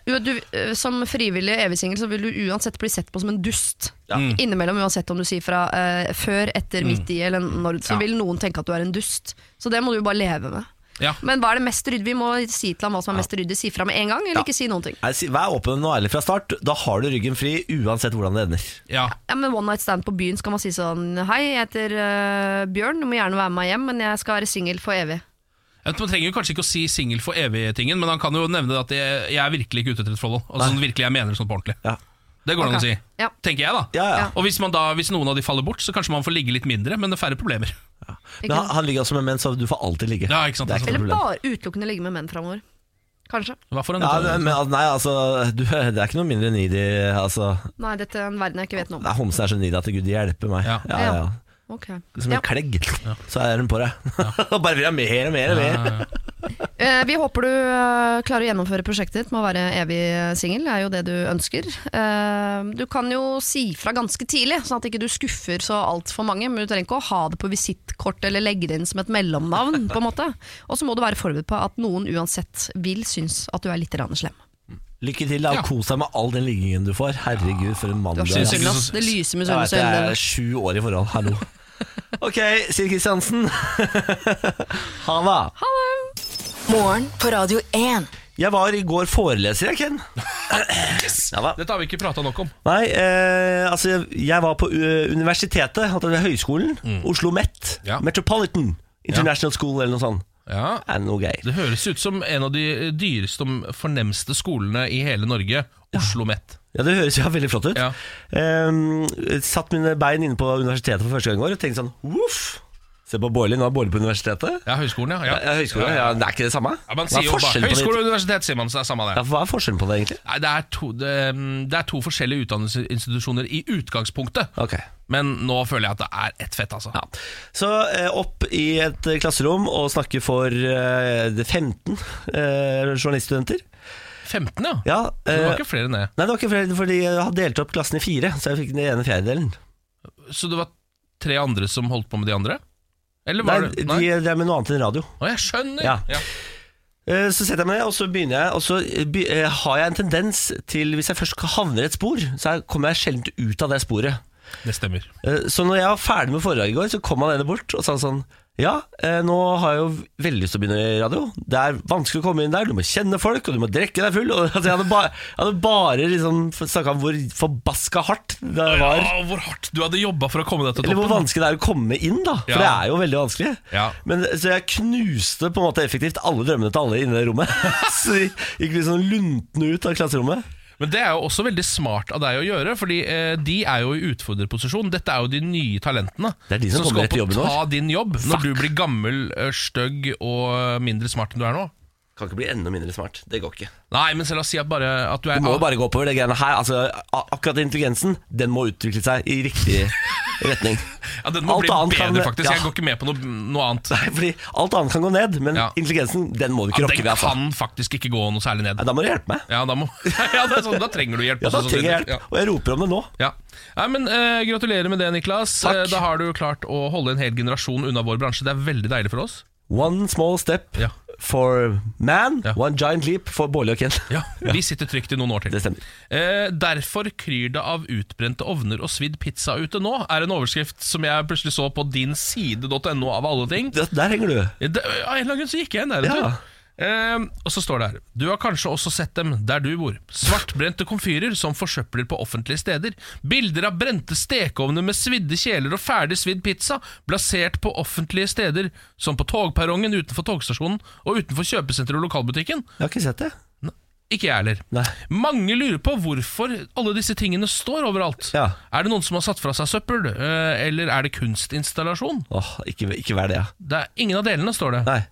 [SPEAKER 4] Jo, Du, som frivillig evig singel så vil du uansett bli sett på som en dust. Innimellom, uansett om du sier fra eh, før, etter, midt i eller når, så
[SPEAKER 2] Mm. Ja.
[SPEAKER 4] vil noen tenke at du er en dust. Så det må du jo bare leve med.
[SPEAKER 2] Ja.
[SPEAKER 4] Men hva er det mest ryddig? Vi må si til ham hva som er mest ryddig. Si fra med en gang, eller ikke si noen ting.
[SPEAKER 1] Nei, si- Vær åpen og ærlig fra start. Da har du ryggen fri uansett hvordan det ender.
[SPEAKER 2] Ja.
[SPEAKER 4] Ja, men One night stand på byen skal man si sånn Hei, jeg heter eh, Bjørn, du må gjerne være med meg hjem, men jeg skal være singel for evig.
[SPEAKER 2] Ja, Man trenger jo kanskje ikke å si singel for evig-tingen, men han kan jo nevne at jeg, jeg er virkelig ikke ute etter et forhold. Altså, sånn, virkelig, jeg mener det sånn på ordentlig.
[SPEAKER 1] Ja.
[SPEAKER 2] Det går an å si.
[SPEAKER 4] Ja.
[SPEAKER 2] Tenker jeg, da.
[SPEAKER 1] Ja, ja.
[SPEAKER 4] Ja.
[SPEAKER 2] Og hvis, man da, hvis noen av de faller bort, så kanskje man får ligge litt mindre, men det er færre problemer.
[SPEAKER 4] Ikke
[SPEAKER 1] Men han,
[SPEAKER 4] sant?
[SPEAKER 1] han ligger også med menn, så du får alltid ligge.
[SPEAKER 2] Ja, ikke sant, altså.
[SPEAKER 1] Det er ikke
[SPEAKER 2] ikke
[SPEAKER 4] Eller
[SPEAKER 1] noe problem.
[SPEAKER 4] bare utelukkende ligge med menn framover. Kanskje.
[SPEAKER 2] Hva for en
[SPEAKER 1] Ja,
[SPEAKER 2] detalj?
[SPEAKER 1] men, al- nei, altså, du, det er ikke noe mindre needy. Altså,
[SPEAKER 4] Nei, dette er en verden jeg ikke vet noe om.
[SPEAKER 1] nei, homsen er så needy at gud hjelper meg.
[SPEAKER 2] Ja.
[SPEAKER 1] Ja, ja.
[SPEAKER 4] Ok.
[SPEAKER 1] Som
[SPEAKER 4] Ja.
[SPEAKER 1] en klegg, så er hun på deg. Og bare vil ha mer og mer og mer.
[SPEAKER 4] Eh, vi håper du eh, klarer å gjennomføre prosjektet ditt med å være evig singel. Det er jo det du ønsker. Eh, du kan jo si fra ganske tidlig, sånn at ikke du skuffer så altfor mange. Men du trenger ikke å ha det på visittkort eller legge det inn som et mellomnavn. på en måte. Og så må du være forberedt på at noen uansett vil synes at du er litt rann slem.
[SPEAKER 1] Lykke til, da.
[SPEAKER 2] Ja.
[SPEAKER 1] Kos deg med all den liggingen du får. Herregud, for en mann
[SPEAKER 4] Du
[SPEAKER 1] du
[SPEAKER 4] har
[SPEAKER 1] er. ass.
[SPEAKER 2] Synes jeg-
[SPEAKER 4] misunnelse, ass. Det lyser
[SPEAKER 1] Jeg vet,
[SPEAKER 4] misunnelse i
[SPEAKER 1] jeg er
[SPEAKER 4] øynene dine.
[SPEAKER 1] sju år i forhold. Hallo. Ok, Siv Kristiansen. ha det.
[SPEAKER 3] Morgen på Radio 1.
[SPEAKER 1] Jeg var i går foreleser, jeg, Ken. Ja, hva?
[SPEAKER 2] Dette har vi ikke prata nok om.
[SPEAKER 1] Nei, eh, altså jeg, jeg var på ø, universitetet, altså ved høyskolen, Oslo Met,
[SPEAKER 2] Mm. Ja.
[SPEAKER 1] Metropolitan International School eller noe sånt.
[SPEAKER 2] Ja.
[SPEAKER 1] Er det noe greier?
[SPEAKER 2] Det høres ut som en av de dyreste og fornemste skolene i hele Norge. Oslo Met.
[SPEAKER 1] Ja, det høres ja, veldig flott ut.
[SPEAKER 2] Ja.
[SPEAKER 1] Ehm, satt mine bein inne på universitetet for første gang i går og tenkte sånn, voff, se på Bårli, nå er Bårli på universitetet.
[SPEAKER 2] Ja, høyskolen, ja.
[SPEAKER 1] Ja, høyskole, ja, det er ikke det samme.
[SPEAKER 2] Ja, man
[SPEAKER 1] Hva er
[SPEAKER 2] sier jo bare
[SPEAKER 1] forskjellen på de
[SPEAKER 2] Høyskole
[SPEAKER 1] to-
[SPEAKER 2] og universitet, sier man, så det er samme det.
[SPEAKER 1] Ja, hva er forskjellen på det egentlig?
[SPEAKER 2] Nei, det er, to, det, mm, det er to forskjellige utdannelsesinstitusjoner i utgangspunktet,
[SPEAKER 1] Ok.
[SPEAKER 2] men nå føler jeg at det er ett fett, altså.
[SPEAKER 1] Ja. Så eh, opp i et eh, klasserom og snakke for eh, det 15 eh, journaliststudenter.
[SPEAKER 2] 15, ja.
[SPEAKER 1] Ja,
[SPEAKER 2] Så det
[SPEAKER 1] eh,
[SPEAKER 2] var ikke flere enn det.
[SPEAKER 1] Nei, det var ikke flere, fordi jeg hadde delt opp klassen i fire, så jeg fikk den ene fjerdedelen.
[SPEAKER 2] Så det var tre andre som holdt på med de andre? Eller
[SPEAKER 1] Nei,
[SPEAKER 2] var
[SPEAKER 1] de,
[SPEAKER 2] det Nei?
[SPEAKER 1] det er med noe annet enn radio.
[SPEAKER 2] Å, jeg skjønner!
[SPEAKER 1] Ja.
[SPEAKER 2] Ja.
[SPEAKER 1] Eh, Så setter jeg meg ned, og så begynner jeg, og så eh, be- eh, har jeg en tendens til, hvis jeg først havner i et spor, så er- kommer jeg sjelden ut av det sporet.
[SPEAKER 2] Det stemmer.
[SPEAKER 1] Eh, Så når jeg var ferdig med foredraget i går, så kom han ene bort og sa sånn, ja, eh, nå har jeg jo veldig lyst til å begynne i radio. Det er vanskelig å komme inn der, du må kjenne folk, og du må drekke deg full. Og, altså, jeg, hadde bare, jeg hadde bare liksom snakket om hvor forbaska hardt det var.
[SPEAKER 2] Å, hvor hardt du hadde jobba for å komme deg til
[SPEAKER 1] Eller hvor
[SPEAKER 2] toppen.
[SPEAKER 1] vanskelig det er å komme inn, da. For
[SPEAKER 2] Ja.
[SPEAKER 1] det er jo veldig vanskelig.
[SPEAKER 2] Ja.
[SPEAKER 1] Men, så jeg knuste på en måte effektivt alle drømmene til alle inne i det rommet. så de gikk litt sånn luntne ut av klasserommet.
[SPEAKER 2] Men det er jo også veldig smart av deg å gjøre, fordi eh, de er jo i utfordrerposisjon. Dette er jo de nye talentene
[SPEAKER 1] Det er de som kommer
[SPEAKER 2] skal
[SPEAKER 1] rett i jobben
[SPEAKER 2] ta
[SPEAKER 1] vår.
[SPEAKER 2] din jobb når du blir gammel, eh, stygg og eh, mindre smart enn du er nå.
[SPEAKER 1] Kan ikke bli enda mindre smart. Det går ikke.
[SPEAKER 2] Nei, men så la oss si at, bare, at du er
[SPEAKER 1] Du må jo bare gå oppover det greiene her. Altså, a- akkurat intelligensen, den må utvikle seg i riktig retning.
[SPEAKER 2] Ja, Den må
[SPEAKER 1] Alt
[SPEAKER 2] bli
[SPEAKER 1] annet
[SPEAKER 2] bedre,
[SPEAKER 1] kan-
[SPEAKER 2] faktisk.
[SPEAKER 1] ja.
[SPEAKER 2] Jeg går ikke med på noe, noe annet.
[SPEAKER 1] Nei, Fordi alt annet kan gå ned, men
[SPEAKER 2] Ja.
[SPEAKER 1] intelligensen, den må du ikke
[SPEAKER 2] Ja,
[SPEAKER 1] rokke
[SPEAKER 2] den
[SPEAKER 1] ved. Altså.
[SPEAKER 2] kan faktisk ikke gå noe særlig ned.
[SPEAKER 1] Nei, da må du hjelpe meg.
[SPEAKER 2] Ja, da, må, ja, det er sånn, da trenger du hjelp.
[SPEAKER 1] Ja, da
[SPEAKER 2] også,
[SPEAKER 1] trenger jeg
[SPEAKER 2] sannsynligvis. Ja.
[SPEAKER 1] hjelp. Og jeg roper om det nå.
[SPEAKER 2] Ja. Nei, men eh, Gratulerer med det, Niklas.
[SPEAKER 1] Takk.
[SPEAKER 2] Eh, da har du klart å holde en hel generasjon unna vår bransje. Det er veldig deilig for oss.
[SPEAKER 1] One small step
[SPEAKER 2] Ja.
[SPEAKER 1] for man,
[SPEAKER 2] Ja.
[SPEAKER 1] one giant leap for Bårli og Ken.
[SPEAKER 2] Vi sitter trygt i noen år til.
[SPEAKER 1] Det stemmer.
[SPEAKER 2] Eh, derfor kryr det av utbrente ovner og svidd pizza ute nå, er en overskrift som jeg plutselig så på dinside.no av alle ting.
[SPEAKER 1] Der, der henger du.
[SPEAKER 2] Det, av en eller annen grunn så gikk jeg inn der. vet
[SPEAKER 1] Ja.
[SPEAKER 2] du. Eh, og så står det her Du har kanskje også sett dem der du bor. Svartbrente komfyrer som forsøpler på offentlige steder. Bilder av brente stekeovner med svidde kjeler og ferdig svidd pizza plassert på offentlige steder, som på togperrongen utenfor togstasjonen og utenfor kjøpesenteret og lokalbutikken.
[SPEAKER 1] Jeg har ikke sett det.
[SPEAKER 2] Ikke jeg heller.
[SPEAKER 1] Nei.
[SPEAKER 2] Mange lurer på hvorfor alle disse tingene står overalt.
[SPEAKER 1] Ja.
[SPEAKER 2] Er det noen som har satt fra seg søppel, eh, eller er det kunstinstallasjon?
[SPEAKER 1] Åh, ikke, ikke vær det, ja.
[SPEAKER 2] Det er ingen av delene, står det.
[SPEAKER 1] Nei.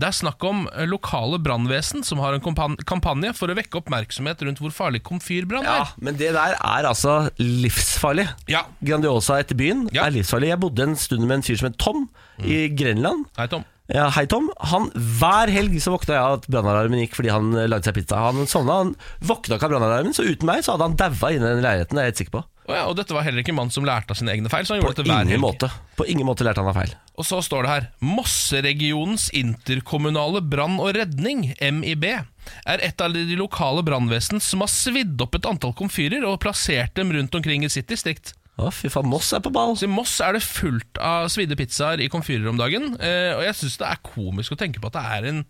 [SPEAKER 2] Det er snakk om eh, lokale brannvesen som har en kompan- kampanje for å vekke oppmerksomhet rundt hvor farlig komfyrbrann
[SPEAKER 1] Ja,
[SPEAKER 2] er.
[SPEAKER 1] men det der er altså livsfarlig.
[SPEAKER 2] Ja.
[SPEAKER 1] Grandiosa etter byen
[SPEAKER 2] Ja. Mm.
[SPEAKER 1] er livsfarlig. Jeg bodde en stund med en fyr som het Tom i Grenland.
[SPEAKER 2] Hei, Tom.
[SPEAKER 1] Ja, hei Tom. Han, hver helg så våkna jeg av at brannalarmen gikk fordi han eh, lagde seg pizza. Han sovna, han våkna ikke av brannalarmen, så uten meg så hadde han daua inne i den leiligheten. Det er jeg helt sikker på.
[SPEAKER 2] Å ja, og dette var heller ikke en mann som lærte av sine egne feil. Så han
[SPEAKER 1] På
[SPEAKER 2] gjorde dette hver
[SPEAKER 1] ingen
[SPEAKER 2] helg.
[SPEAKER 1] måte. På ingen måte lærte han av feil.
[SPEAKER 2] Og så står det her Mosseregionens interkommunale brann og redning, MIB, er et av de lokale brannvesen som har svidd opp et antall komfyrer og plassert dem rundt omkring i sitt distrikt.
[SPEAKER 1] Å, fy faen, Moss er på ball.
[SPEAKER 2] Så I Moss er det fullt av svidde pizzaer i komfyrer om dagen, eh, og jeg syns det er komisk å tenke på at det er en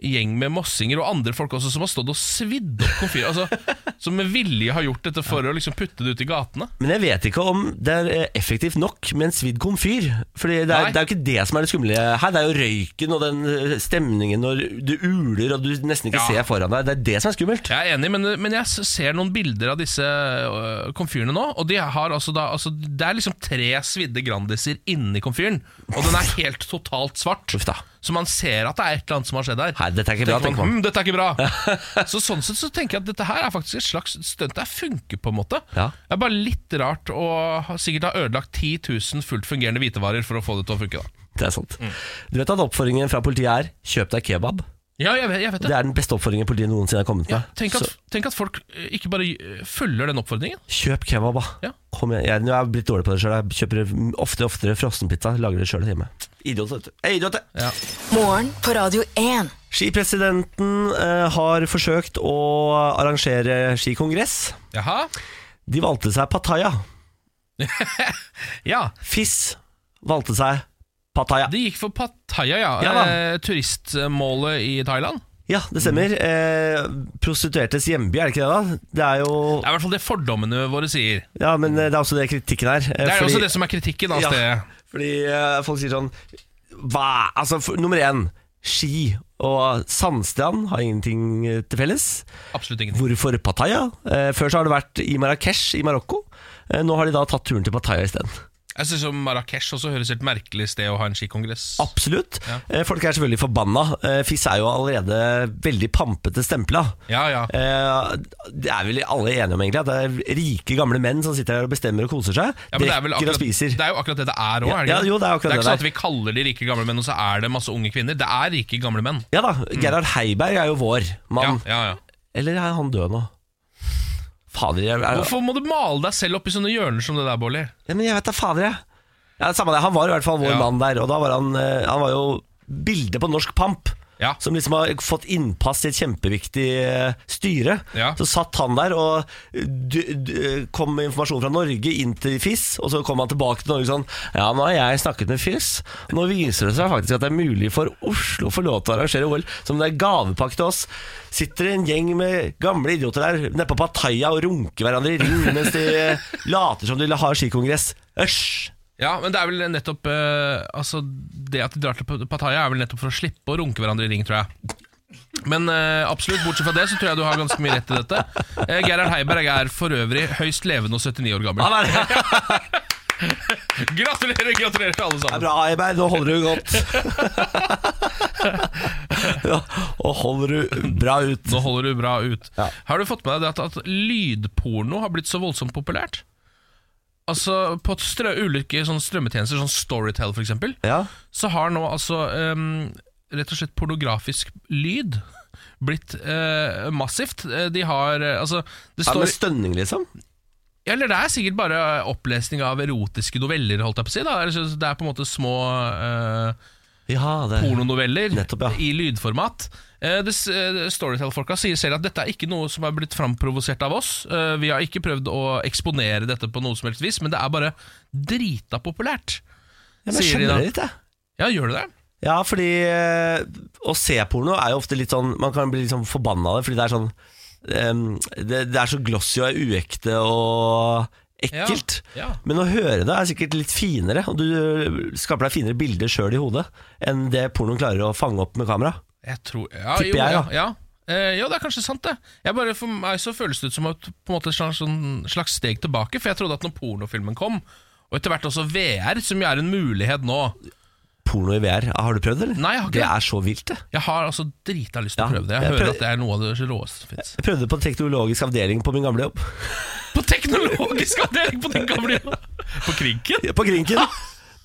[SPEAKER 2] gjeng med mossinger og andre folk også som har stått og svidd opp komfyrer, altså, som med vilje har gjort dette for å liksom putte det ut i gatene.
[SPEAKER 1] Men jeg vet ikke om det er eh, effektivt nok med en svidd komfyr. Fordi det
[SPEAKER 2] Nei.
[SPEAKER 1] er, det er jo ikke det som er det skumle her. Det er jo røyken og den eh, stemningen når du uler og du nesten ikke
[SPEAKER 2] Ja.
[SPEAKER 1] ser foran deg. Det er det som er skummelt.
[SPEAKER 2] Jeg er enig, men, men jeg s- ser noen bilder av disse øh, komfyrene nå. Og de har altså da, altså, Det er liksom tre svidde Grandiser inni komfyren, og den er helt totalt svart.
[SPEAKER 1] Uff da.
[SPEAKER 2] Så man ser at det er et eller annet som har skjedd her.
[SPEAKER 1] Nei, dette er ikke bra, tenker man.
[SPEAKER 2] hm, dette er ikke bra. så Sånn sett så tenker jeg at dette her er faktisk et slags stunt. Det funker, på en måte.
[SPEAKER 1] Ja.
[SPEAKER 2] Det er bare litt rart å ha- sikkert ha ødelagt 10 000 fullt fungerende hvitevarer for å få det til å funke. da
[SPEAKER 1] Det er sant. Du vet at oppfordringen fra politiet er 'kjøp deg kebab'.
[SPEAKER 2] Ja, jeg vet, jeg vet
[SPEAKER 1] Det
[SPEAKER 2] det.
[SPEAKER 1] er den beste oppfordringen politiet noensinne har kommet
[SPEAKER 2] Ja,
[SPEAKER 1] med.
[SPEAKER 2] tenk,
[SPEAKER 1] Så
[SPEAKER 2] at, tenk at folk øh, ikke bare øh, følger den oppfordringen.
[SPEAKER 1] kjøp kebab, da.
[SPEAKER 2] Ja.
[SPEAKER 1] Kom igjen. Jeg, nå er jeg blitt dårlig på det sjøl. Jeg kjøper oftere og oftere frossenpizza. Lager det sjøl hjemme. Idiot, vet du. Jeg er idiot, jeg.
[SPEAKER 2] Ja.
[SPEAKER 3] Morgen på Radio 1.
[SPEAKER 1] Skipresidenten eh, har forsøkt å arrangere skikongress.
[SPEAKER 2] Jaha?
[SPEAKER 1] De valgte seg Pattaya.
[SPEAKER 2] Ja.
[SPEAKER 1] Fiss valgte seg Pattaya.
[SPEAKER 2] De gikk for Pattaya, ja.
[SPEAKER 1] Ja da.
[SPEAKER 2] eh, turistmålet i Thailand.
[SPEAKER 1] Ja, det stemmer. Eh, prostituertes hjemby, er det ikke det? da? Det er jo
[SPEAKER 2] Det er i hvert fall det fordommene våre sier.
[SPEAKER 1] Ja, men eh, det er også det kritikken er.
[SPEAKER 2] Det er jo også det som er kritikken av
[SPEAKER 1] Ja.
[SPEAKER 2] stedet.
[SPEAKER 1] Fordi eh, folk sier sånn Hva? Altså, for, nummer én Ski og sandstrand har ingenting eh, til felles.
[SPEAKER 2] Absolutt ingenting.
[SPEAKER 1] Hvorfor Pattaya? Eh, før så har det vært i Marrakech i Marokko. Eh, nå har de da tatt turen til Pattaya isteden.
[SPEAKER 2] Jeg synes jo Marrakech også høres et merkelig sted å ha en skikongress.
[SPEAKER 1] Absolutt. Eh, folk er selvfølgelig forbanna. Eh, Fiss er jo allerede veldig pampete stempla.
[SPEAKER 2] Ja, ja.
[SPEAKER 1] Eh, det er vel alle enige om egentlig, at det er rike gamle menn som sitter her og bestemmer og koser seg.
[SPEAKER 2] Ja, men det, er
[SPEAKER 1] drikker
[SPEAKER 2] vel
[SPEAKER 1] og
[SPEAKER 2] akkurat,
[SPEAKER 1] spiser.
[SPEAKER 2] det er jo akkurat det det er òg.
[SPEAKER 1] Ja, ja, jo, det er akkurat
[SPEAKER 2] det er
[SPEAKER 1] det
[SPEAKER 2] ikke sånn
[SPEAKER 1] der.
[SPEAKER 2] at vi kaller de rike gamle menn, og så er det masse unge kvinner. Det er rike gamle menn.
[SPEAKER 1] Ja da, Gerhard Heiberg er jo vår
[SPEAKER 2] Mm. Ja,
[SPEAKER 1] mann.
[SPEAKER 2] ja, ja.
[SPEAKER 1] Eller er han død nå? Fader, jeg, jeg,
[SPEAKER 2] Hvorfor må du male deg selv opp i sånne hjørner som det der, Bolli?
[SPEAKER 1] Ja, men jeg vet da fader, jeg. Ja, samme det. Han var i hvert fall vår
[SPEAKER 2] Ja.
[SPEAKER 1] mann der, og da var han, eh, han var jo bildet på norsk pamp.
[SPEAKER 2] Ja.
[SPEAKER 1] Som liksom har fått innpass i et kjempeviktig eh, styre.
[SPEAKER 2] Ja.
[SPEAKER 1] Så satt han der og eh, d d eh, kom med informasjon fra Norge inn til FIS, og så kom han tilbake til Norge sånn Ja, nå har jeg snakket med FIS. Nå viser det seg faktisk at det er mulig for Oslo å få lov til å arrangere OL som det er gavepakke til oss. Sitter en gjeng med gamle idioter der nede på Pattaya og runker hverandre i ring mens de eh, later som de har skikongress. Æsj!
[SPEAKER 2] Ja, men det er vel nettopp eh, Altså, det at de drar til Pattaya, er vel nettopp for å slippe å runke hverandre i ring, tror jeg. Men eh, absolutt, bortsett fra det, så tror jeg du har ganske mye rett i dette. Eh, Gerhard Heiberg er for øvrig høyst levende og 79 år gammel.
[SPEAKER 1] Han er det.
[SPEAKER 2] Gratulerer, gratulerer til alle
[SPEAKER 1] Det er
[SPEAKER 2] sammen.
[SPEAKER 1] bra, Eiberg. Nå holder du godt. ja, og holder du bra ut.
[SPEAKER 2] Nå holder du bra ut.
[SPEAKER 1] Ja.
[SPEAKER 2] Har du fått med deg det at, at lydporno har blitt så voldsomt populært? Altså, på strø ulike sånne strømmetjenester, sånn Storytel for eksempel,
[SPEAKER 1] Ja.
[SPEAKER 2] så har nå altså ehm, rett og slett pornografisk lyd blitt eh, massivt. Eh, De har eh, altså
[SPEAKER 1] Er
[SPEAKER 2] det
[SPEAKER 1] det
[SPEAKER 2] står,
[SPEAKER 1] med stønning, liksom?
[SPEAKER 2] Eller det er sikkert bare opplesning av erotiske noveller, holdt jeg på å si. Da. Altså, Det er på en måte små eh,
[SPEAKER 1] Ja, det
[SPEAKER 2] pornonoveller
[SPEAKER 1] Nettopp, ja.
[SPEAKER 2] i lydformat. Eh, det s- eh, Storytel-folka sier selv at dette er ikke noe som er blitt framprovosert av oss. Eh, Vi har ikke prøvd å eksponere dette på noe som helst vis, men det er bare drita populært.
[SPEAKER 1] ja, men
[SPEAKER 2] sier
[SPEAKER 1] jeg
[SPEAKER 2] de da.
[SPEAKER 1] skjønner det litt, jeg.
[SPEAKER 2] Ja, gjør du det?
[SPEAKER 1] Ja, fordi eh, å se porno er jo ofte litt sånn Man kan bli litt sånn forbanna av det, fordi det er sånn em, det, det er så glossy og er uekte og ekkelt.
[SPEAKER 2] Ja, ja.
[SPEAKER 1] Men å høre det er sikkert litt finere, og du skaper deg finere bilder sjøl i hodet enn det pornoen klarer å fange opp med kamera.
[SPEAKER 2] Jeg tror, ja,
[SPEAKER 1] Tipper
[SPEAKER 2] jo,
[SPEAKER 1] jeg,
[SPEAKER 2] ja.
[SPEAKER 1] da.
[SPEAKER 2] ja. Eh, jo, det er kanskje sant, det. Jeg bare, for meg så føles det ut som et, på en måte et slags, sånn, slags steg tilbake. For jeg trodde at når pornofilmen kom, og etter hvert også VR, som jo er en mulighet nå
[SPEAKER 1] Porno i VR, har du prøvd det? eller?
[SPEAKER 2] Nei, jeg har ikke
[SPEAKER 1] det
[SPEAKER 2] det.
[SPEAKER 1] er så vilt, det.
[SPEAKER 2] Jeg har altså drita lyst til å
[SPEAKER 1] Ja,
[SPEAKER 2] prøve det. Jeg,
[SPEAKER 1] jeg
[SPEAKER 2] hører
[SPEAKER 1] prøver-
[SPEAKER 2] at det er noe av det råeste som fins.
[SPEAKER 1] Jeg prøvde på teknologisk avdeling på min gamle jobb.
[SPEAKER 2] På teknologisk avdeling på den gamle På Krinken?
[SPEAKER 1] På Krinken.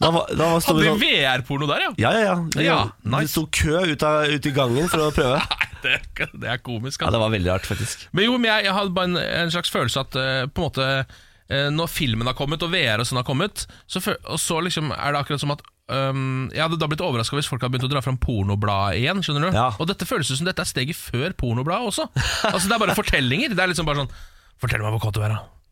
[SPEAKER 1] Da var, da var
[SPEAKER 2] Hadde
[SPEAKER 1] store
[SPEAKER 2] de
[SPEAKER 1] sånn
[SPEAKER 2] VR-porno der, ja?
[SPEAKER 1] Ja, ja, ja. Det,
[SPEAKER 2] Ja,
[SPEAKER 1] det
[SPEAKER 2] nice.
[SPEAKER 1] sto kø ut, av, ut i gangen for å prøve.
[SPEAKER 2] Nei, det, det er komisk.
[SPEAKER 1] Ja,
[SPEAKER 2] Altså.
[SPEAKER 1] Det var veldig rart, faktisk.
[SPEAKER 2] Men jo, men jeg, jeg hadde bare en, en slags følelse at eh, på en måte eh, når filmen har kommet, og VR og sånn har kommet, så, fø- og så liksom er det akkurat som at øhm, Jeg hadde da blitt overraska hvis folk hadde begynt å dra fram pornobladet igjen. skjønner du?
[SPEAKER 1] Ja.
[SPEAKER 2] Og dette føles ut som dette er steget før pornobladet også. Altså Det er bare fortellinger. Det er liksom bare sånn Fortell meg hvor kåt du er, da.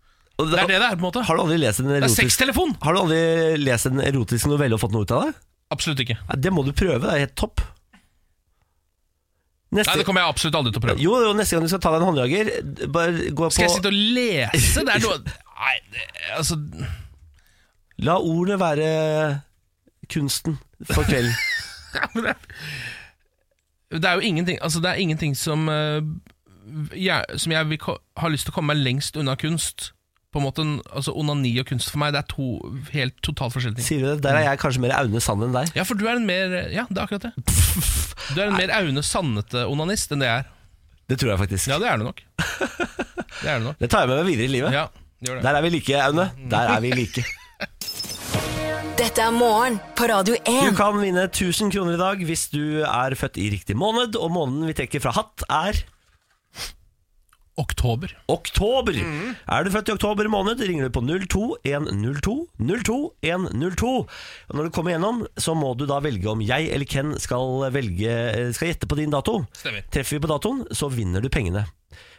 [SPEAKER 1] Og
[SPEAKER 2] Det er det det er, på en måte.
[SPEAKER 1] Har du aldri lest en
[SPEAKER 2] Det er
[SPEAKER 1] erotisk
[SPEAKER 2] sextelefon!
[SPEAKER 1] Har du aldri lest en erotisk novelle og fått noe ut av det?
[SPEAKER 2] Absolutt ikke.
[SPEAKER 1] Ja, Det må du prøve, det er helt topp.
[SPEAKER 2] Nei,
[SPEAKER 1] Neste,
[SPEAKER 2] Det kommer jeg absolutt aldri til å prøve.
[SPEAKER 1] jo, jo, neste gang du skal ta deg en håndjager, d- bare gå på
[SPEAKER 2] Skal jeg sitte og lese? Det er noe Nei, det, altså
[SPEAKER 1] La ordene være kunsten for kvelden.
[SPEAKER 2] Ja, men det, det er jo ingenting Altså det er ingenting som eh, jeg, Som jeg vil, ko- har lyst til å komme meg lengst unna kunst På en måte Altså onani og kunst for meg Det er to helt totalt forskjellige ting
[SPEAKER 1] Sier du det? Der er jeg kanskje mer Aune Sand enn deg.
[SPEAKER 2] Ja, for du er en mer Ja, det er akkurat det Du er en mer Aune Sannete onanist enn det jeg er
[SPEAKER 1] Det tror jeg faktisk.
[SPEAKER 2] Ja, det er du nok Det er du nok
[SPEAKER 1] Det tar jeg med meg videre i livet.
[SPEAKER 2] Ja, gjør det
[SPEAKER 1] Der er vi like, Aune. Der er vi like.
[SPEAKER 3] Dette er morgen på Radio
[SPEAKER 1] Du
[SPEAKER 3] 1.
[SPEAKER 1] kan vinne 1000 kroner i dag hvis du er født i riktig måned, og måneden vi trekker fra hatt er
[SPEAKER 2] Oktober
[SPEAKER 1] oktober.
[SPEAKER 2] Mm.
[SPEAKER 1] Er du født i oktober måned, ringer du på 02102 02102. Og når du kommer gjennom, så må du da velge om jeg eller Ken skal, velge, eh, skal gjette på din dato.
[SPEAKER 2] Stemmer
[SPEAKER 1] Treffer vi på datoen, så vinner du pengene.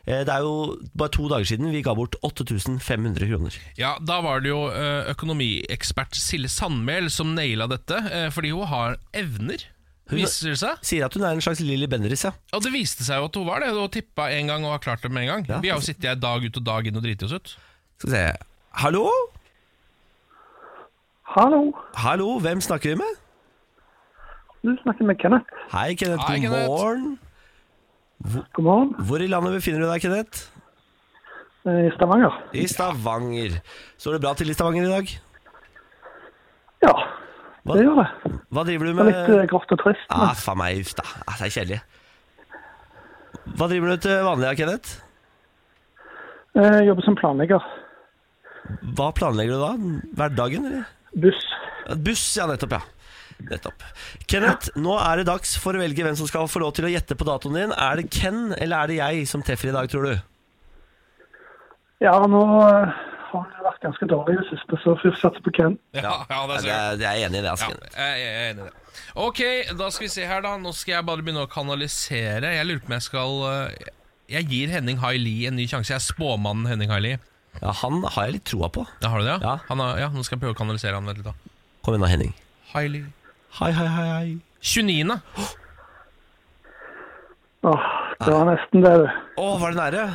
[SPEAKER 1] Eh, Det er jo bare to dager siden vi ga bort 8500 kroner.
[SPEAKER 2] Ja, da var det jo eh, økonomiekspert Sille Sandmel som naila dette eh, Fordi hun har evner
[SPEAKER 1] Hun-
[SPEAKER 2] Viser det seg
[SPEAKER 1] Sier at hun er en slags Lilly Bendriss, ja.
[SPEAKER 2] Ja, Det viste seg jo at hun var det. Hun tippa en gang og har klart det med en gang.
[SPEAKER 1] Ja.
[SPEAKER 2] Vi har jo sittet her dag ut og dag inn og driti oss ut.
[SPEAKER 1] Skal vi se. Hallo?
[SPEAKER 5] Hallo,
[SPEAKER 1] Hallo, hvem snakker vi med?
[SPEAKER 5] du snakker med Kenneth.
[SPEAKER 1] Hei, Kenneth.
[SPEAKER 2] Hei,
[SPEAKER 1] God
[SPEAKER 2] Kenneth.
[SPEAKER 1] morgen.
[SPEAKER 5] God morgen.
[SPEAKER 1] Hvor i landet befinner du deg, Kenneth?
[SPEAKER 5] Eh, I Stavanger.
[SPEAKER 1] I Stavanger. Står det bra til i Stavanger i dag?
[SPEAKER 5] Ja,
[SPEAKER 1] Hva,
[SPEAKER 5] det gjør det.
[SPEAKER 1] hva driver du
[SPEAKER 5] Det er litt eh,
[SPEAKER 1] med?
[SPEAKER 5] grått og trist.
[SPEAKER 1] Ah, faen meg, uff da. Ah, det er kjedelig. Hva driver du til vanlig, da, Kenneth?
[SPEAKER 5] Men eh, jeg jobber som planlegger.
[SPEAKER 1] Hva planlegger du da? Hverdagen, eller?
[SPEAKER 5] Buss.
[SPEAKER 1] Buss, ja, nettopp, ja. Nettopp. Kenneth, nå er det dags for å velge hvem som skal få lov til å gjette på datoen din. Er det Ken eller er det jeg som treffer i dag, tror du?
[SPEAKER 5] Ja, nå eh, har det vært ganske dårlig i det siste, så vi satser på Ken.
[SPEAKER 2] Ja, ja, det
[SPEAKER 1] Jeg
[SPEAKER 2] ser jeg.
[SPEAKER 1] er, jeg er enig i det, altså.
[SPEAKER 2] Ja,
[SPEAKER 1] Kenneth.
[SPEAKER 2] jeg jeg er enig i det. Ok, da skal vi se her, da. Nå skal jeg bare begynne å kanalisere. Jeg lurer på om jeg skal eh, Jeg gir Henning Haili en ny sjanse. Jeg er spåmannen Henning Haili.
[SPEAKER 1] Ja, han har jeg litt troa på.
[SPEAKER 2] Ja, har du det?
[SPEAKER 1] Ja.
[SPEAKER 2] Han har, ja, nå skal jeg prøve å kanalisere han. Vent litt, da.
[SPEAKER 1] Kom igjen da, Henning.
[SPEAKER 2] Haili
[SPEAKER 1] Hei, hei, hei, hei.
[SPEAKER 2] 29.
[SPEAKER 5] Åh, det
[SPEAKER 1] Ah.
[SPEAKER 5] var nesten det, du.
[SPEAKER 1] Å, var det nære?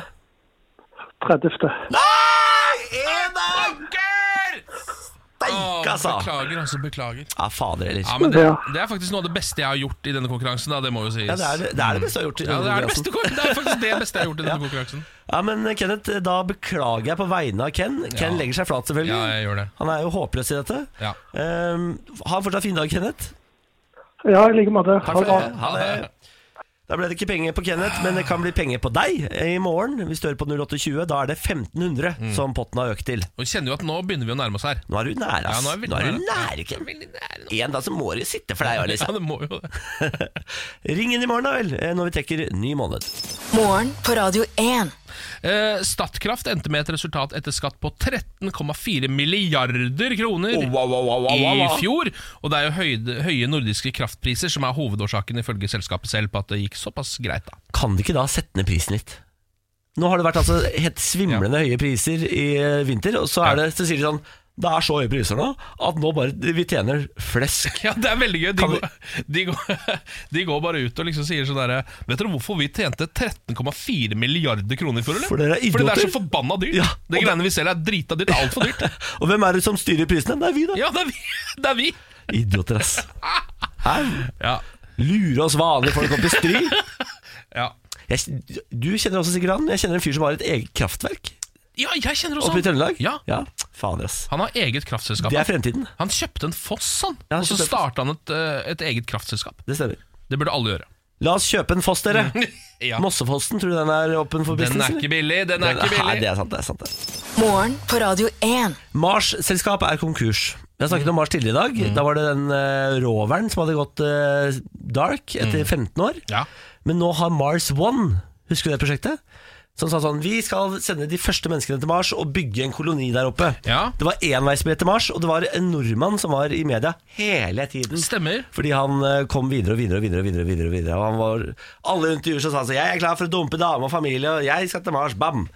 [SPEAKER 5] 30.
[SPEAKER 1] Nei! En dag!
[SPEAKER 2] Gørr! Åh,
[SPEAKER 1] Steik, altså!
[SPEAKER 2] Beklager, altså. Beklager.
[SPEAKER 1] Ja, fader heller.
[SPEAKER 2] Ja, men det,
[SPEAKER 5] Ja.
[SPEAKER 2] det er faktisk noe av det beste jeg har gjort i denne konkurransen. Da, det må jo sies.
[SPEAKER 1] Ja, det, er, det- det er det beste jeg har gjort. i
[SPEAKER 2] Ja,
[SPEAKER 1] denne
[SPEAKER 2] det er det
[SPEAKER 1] konkurransen.
[SPEAKER 2] beste kon- Det er faktisk det beste jeg har gjort i denne konkurransen.
[SPEAKER 1] Ja, men eh, Kenneth, da beklager jeg på vegne av Ken. Ken
[SPEAKER 2] Ja.
[SPEAKER 1] legger seg flat, selvfølgelig.
[SPEAKER 2] Ja, jeg gjør det.
[SPEAKER 1] Han er jo håpløs i dette.
[SPEAKER 2] Ja.
[SPEAKER 1] Um, ha en fortsatt fin dag, Kenneth.
[SPEAKER 5] Ja, i like måte. Ha
[SPEAKER 1] for
[SPEAKER 5] det bra.
[SPEAKER 1] det. Ha det. Da ble det ikke penger på Kenneth, men det kan bli penger på deg eh, i morgen. Hvis du hører på 0820, da er det 1500
[SPEAKER 2] Mm.
[SPEAKER 1] som potten har økt til.
[SPEAKER 2] Og vi kjenner jo at nå begynner vi å nærme oss her.
[SPEAKER 1] Nå er du nære, ass.
[SPEAKER 2] Ja, nå er vi
[SPEAKER 1] nå er du
[SPEAKER 2] nære.
[SPEAKER 1] nære, Ken.
[SPEAKER 2] Veldig nære nå.
[SPEAKER 1] En dag så må det jo sitte for deg,
[SPEAKER 2] Ja,
[SPEAKER 1] Alice.
[SPEAKER 2] det må jo det.
[SPEAKER 1] Ring inn i morgen, da vel, eh, når vi trekker ny måned.
[SPEAKER 3] Morgen på Radio 1.
[SPEAKER 2] Eh, Statkraft endte med et resultat etter skatt på 13,4 milliarder kroner i fjor. Og det er jo høyde, høye nordiske kraftpriser som er hovedårsaken ifølge selskapet selv på at det gikk såpass greit, da.
[SPEAKER 1] kan de ikke da sette ned prisen litt? Nå har det vært altså helt svimlende høye priser i eh, vinter, og så, er
[SPEAKER 2] Ja.
[SPEAKER 1] det, så sier de sånn det er så høye priser nå at nå bare vi tjener flesk.
[SPEAKER 2] Ja, det er veldig gøy. De,
[SPEAKER 1] Kan vi-
[SPEAKER 2] går, de, går, de går bare ut og liksom sier sånn derre Vet dere hvorfor vi tjente 13,4 milliarder kroner i fjor, eller?
[SPEAKER 1] For dere er
[SPEAKER 2] Fordi det er
[SPEAKER 1] idioter.
[SPEAKER 2] så forbanna dyrt.
[SPEAKER 1] Ja,
[SPEAKER 2] det
[SPEAKER 1] og
[SPEAKER 2] greiene vi selger, er drita dyrt. Det er altfor dyrt.
[SPEAKER 1] Og hvem er det som styrer prisene? Det er vi, da.
[SPEAKER 2] Ja, det er vi! Det er vi.
[SPEAKER 1] Idioter, ass. Hæ?
[SPEAKER 2] Ja,
[SPEAKER 1] Lure oss vanlige folk opp i stry.
[SPEAKER 2] ja.
[SPEAKER 1] Jeg, du kjenner også sikkert han. Jeg kjenner en fyr som har et eget kraftverk
[SPEAKER 2] ja jeg kjenner også
[SPEAKER 1] oppe i Trøndelag.
[SPEAKER 2] Sånn. Ja,
[SPEAKER 1] ja. Fader, ass.
[SPEAKER 2] Han har eget kraftselskap.
[SPEAKER 1] Det er fremtiden.
[SPEAKER 2] Han kjøpte en foss, han.
[SPEAKER 1] Ja, han
[SPEAKER 2] og så
[SPEAKER 1] kjøpte en foss.
[SPEAKER 2] starta han et, eh, et eget kraftselskap.
[SPEAKER 1] Det stemmer.
[SPEAKER 2] Det burde alle gjøre.
[SPEAKER 1] La oss kjøpe en foss, dere.
[SPEAKER 2] Mm. Ja.
[SPEAKER 1] Mossefossen, tror du den er åpen for
[SPEAKER 2] Den
[SPEAKER 1] business?
[SPEAKER 2] er ikke billig, den er
[SPEAKER 1] eller?
[SPEAKER 2] ikke
[SPEAKER 1] Nei, det
[SPEAKER 2] billig.
[SPEAKER 1] er sant, det er sant. Det.
[SPEAKER 3] Morgen på Radio 1.
[SPEAKER 1] Mars-selskapet er konkurs. Jeg snakket om Mars tidligere i dag.
[SPEAKER 2] Mm.
[SPEAKER 1] Da var det den eh, roveren som hadde gått eh, dark etter 15 år.
[SPEAKER 2] Mm. Ja.
[SPEAKER 1] Men nå har Mars One, husker du det prosjektet? Som sa sånn, vi skal sende de første menneskene til Mars og bygge en koloni der oppe.
[SPEAKER 2] Ja.
[SPEAKER 1] Det var enveisbillett til Mars, og det var en nordmann som var i media hele tiden.
[SPEAKER 2] Stemmer.
[SPEAKER 1] Fordi han eh, kom videre og videre og videre. Og videre, og videre, og videre. Og han var, alle intervjuer så sa han sånn Jeg er klar for å dumpe dame og familie, og jeg skal til Mars. Bam!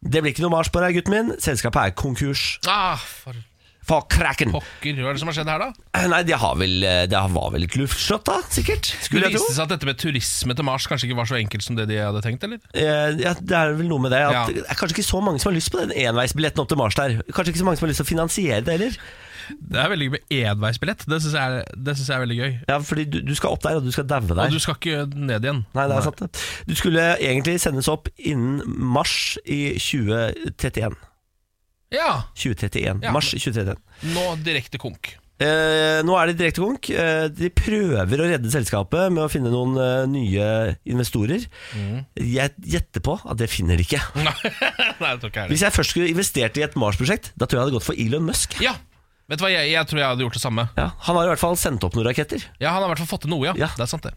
[SPEAKER 1] Det blir ikke noe Mars på deg, gutten min. Selskapet er konkurs.
[SPEAKER 2] Ah, for
[SPEAKER 1] For kraken! Eh,
[SPEAKER 2] pokker, hva er det som har skjedd her, da?
[SPEAKER 1] Nei, det, har vel, det var vel et luftslott, da? Sikkert.
[SPEAKER 2] Det
[SPEAKER 1] Skulle jeg
[SPEAKER 2] viste
[SPEAKER 1] tro.
[SPEAKER 2] seg at dette med turisme til Mars kanskje ikke var så enkelt som det de hadde tenkt, eller?
[SPEAKER 1] Eh, Ja, det er vel noe med det. At
[SPEAKER 2] Ja.
[SPEAKER 1] Det er kanskje ikke så mange som har lyst på den enveisbilletten opp til Mars der. Kanskje ikke så mange som har lyst til å finansiere det heller.
[SPEAKER 2] Det er veldig gøy med enveisbillett. Det syns jeg, er- det synes jeg er veldig gøy.
[SPEAKER 1] Ja, fordi du, du skal opp der, og du skal daue
[SPEAKER 2] Og
[SPEAKER 1] der.
[SPEAKER 2] du skal ikke ned igjen.
[SPEAKER 1] Nei, det er sant. det. Du skulle egentlig sendes opp innen mars i 2031.
[SPEAKER 2] Ja,
[SPEAKER 1] 2031.
[SPEAKER 2] Ja,
[SPEAKER 1] Mars 2031.
[SPEAKER 2] nå direkte konk.
[SPEAKER 1] Eh, nå er det direkte konk. Eh, de prøver å redde selskapet med å finne noen eh, nye investorer.
[SPEAKER 2] Mm.
[SPEAKER 1] Jeg gjetter på at det finner de ikke.
[SPEAKER 2] Nei, det tror ikke jeg heller.
[SPEAKER 1] Hvis jeg først skulle investert i et Mars-prosjekt, da tror jeg jeg hadde gått for Elon Musk.
[SPEAKER 2] Ja, vet du hva, jeg, jeg tror jeg hadde gjort det samme.
[SPEAKER 1] Ja, han har i hvert fall sendt opp noen raketter.
[SPEAKER 2] Ja, Han har i hvert fall fått til noe, ja.
[SPEAKER 1] Ja.
[SPEAKER 2] Det er sant, det.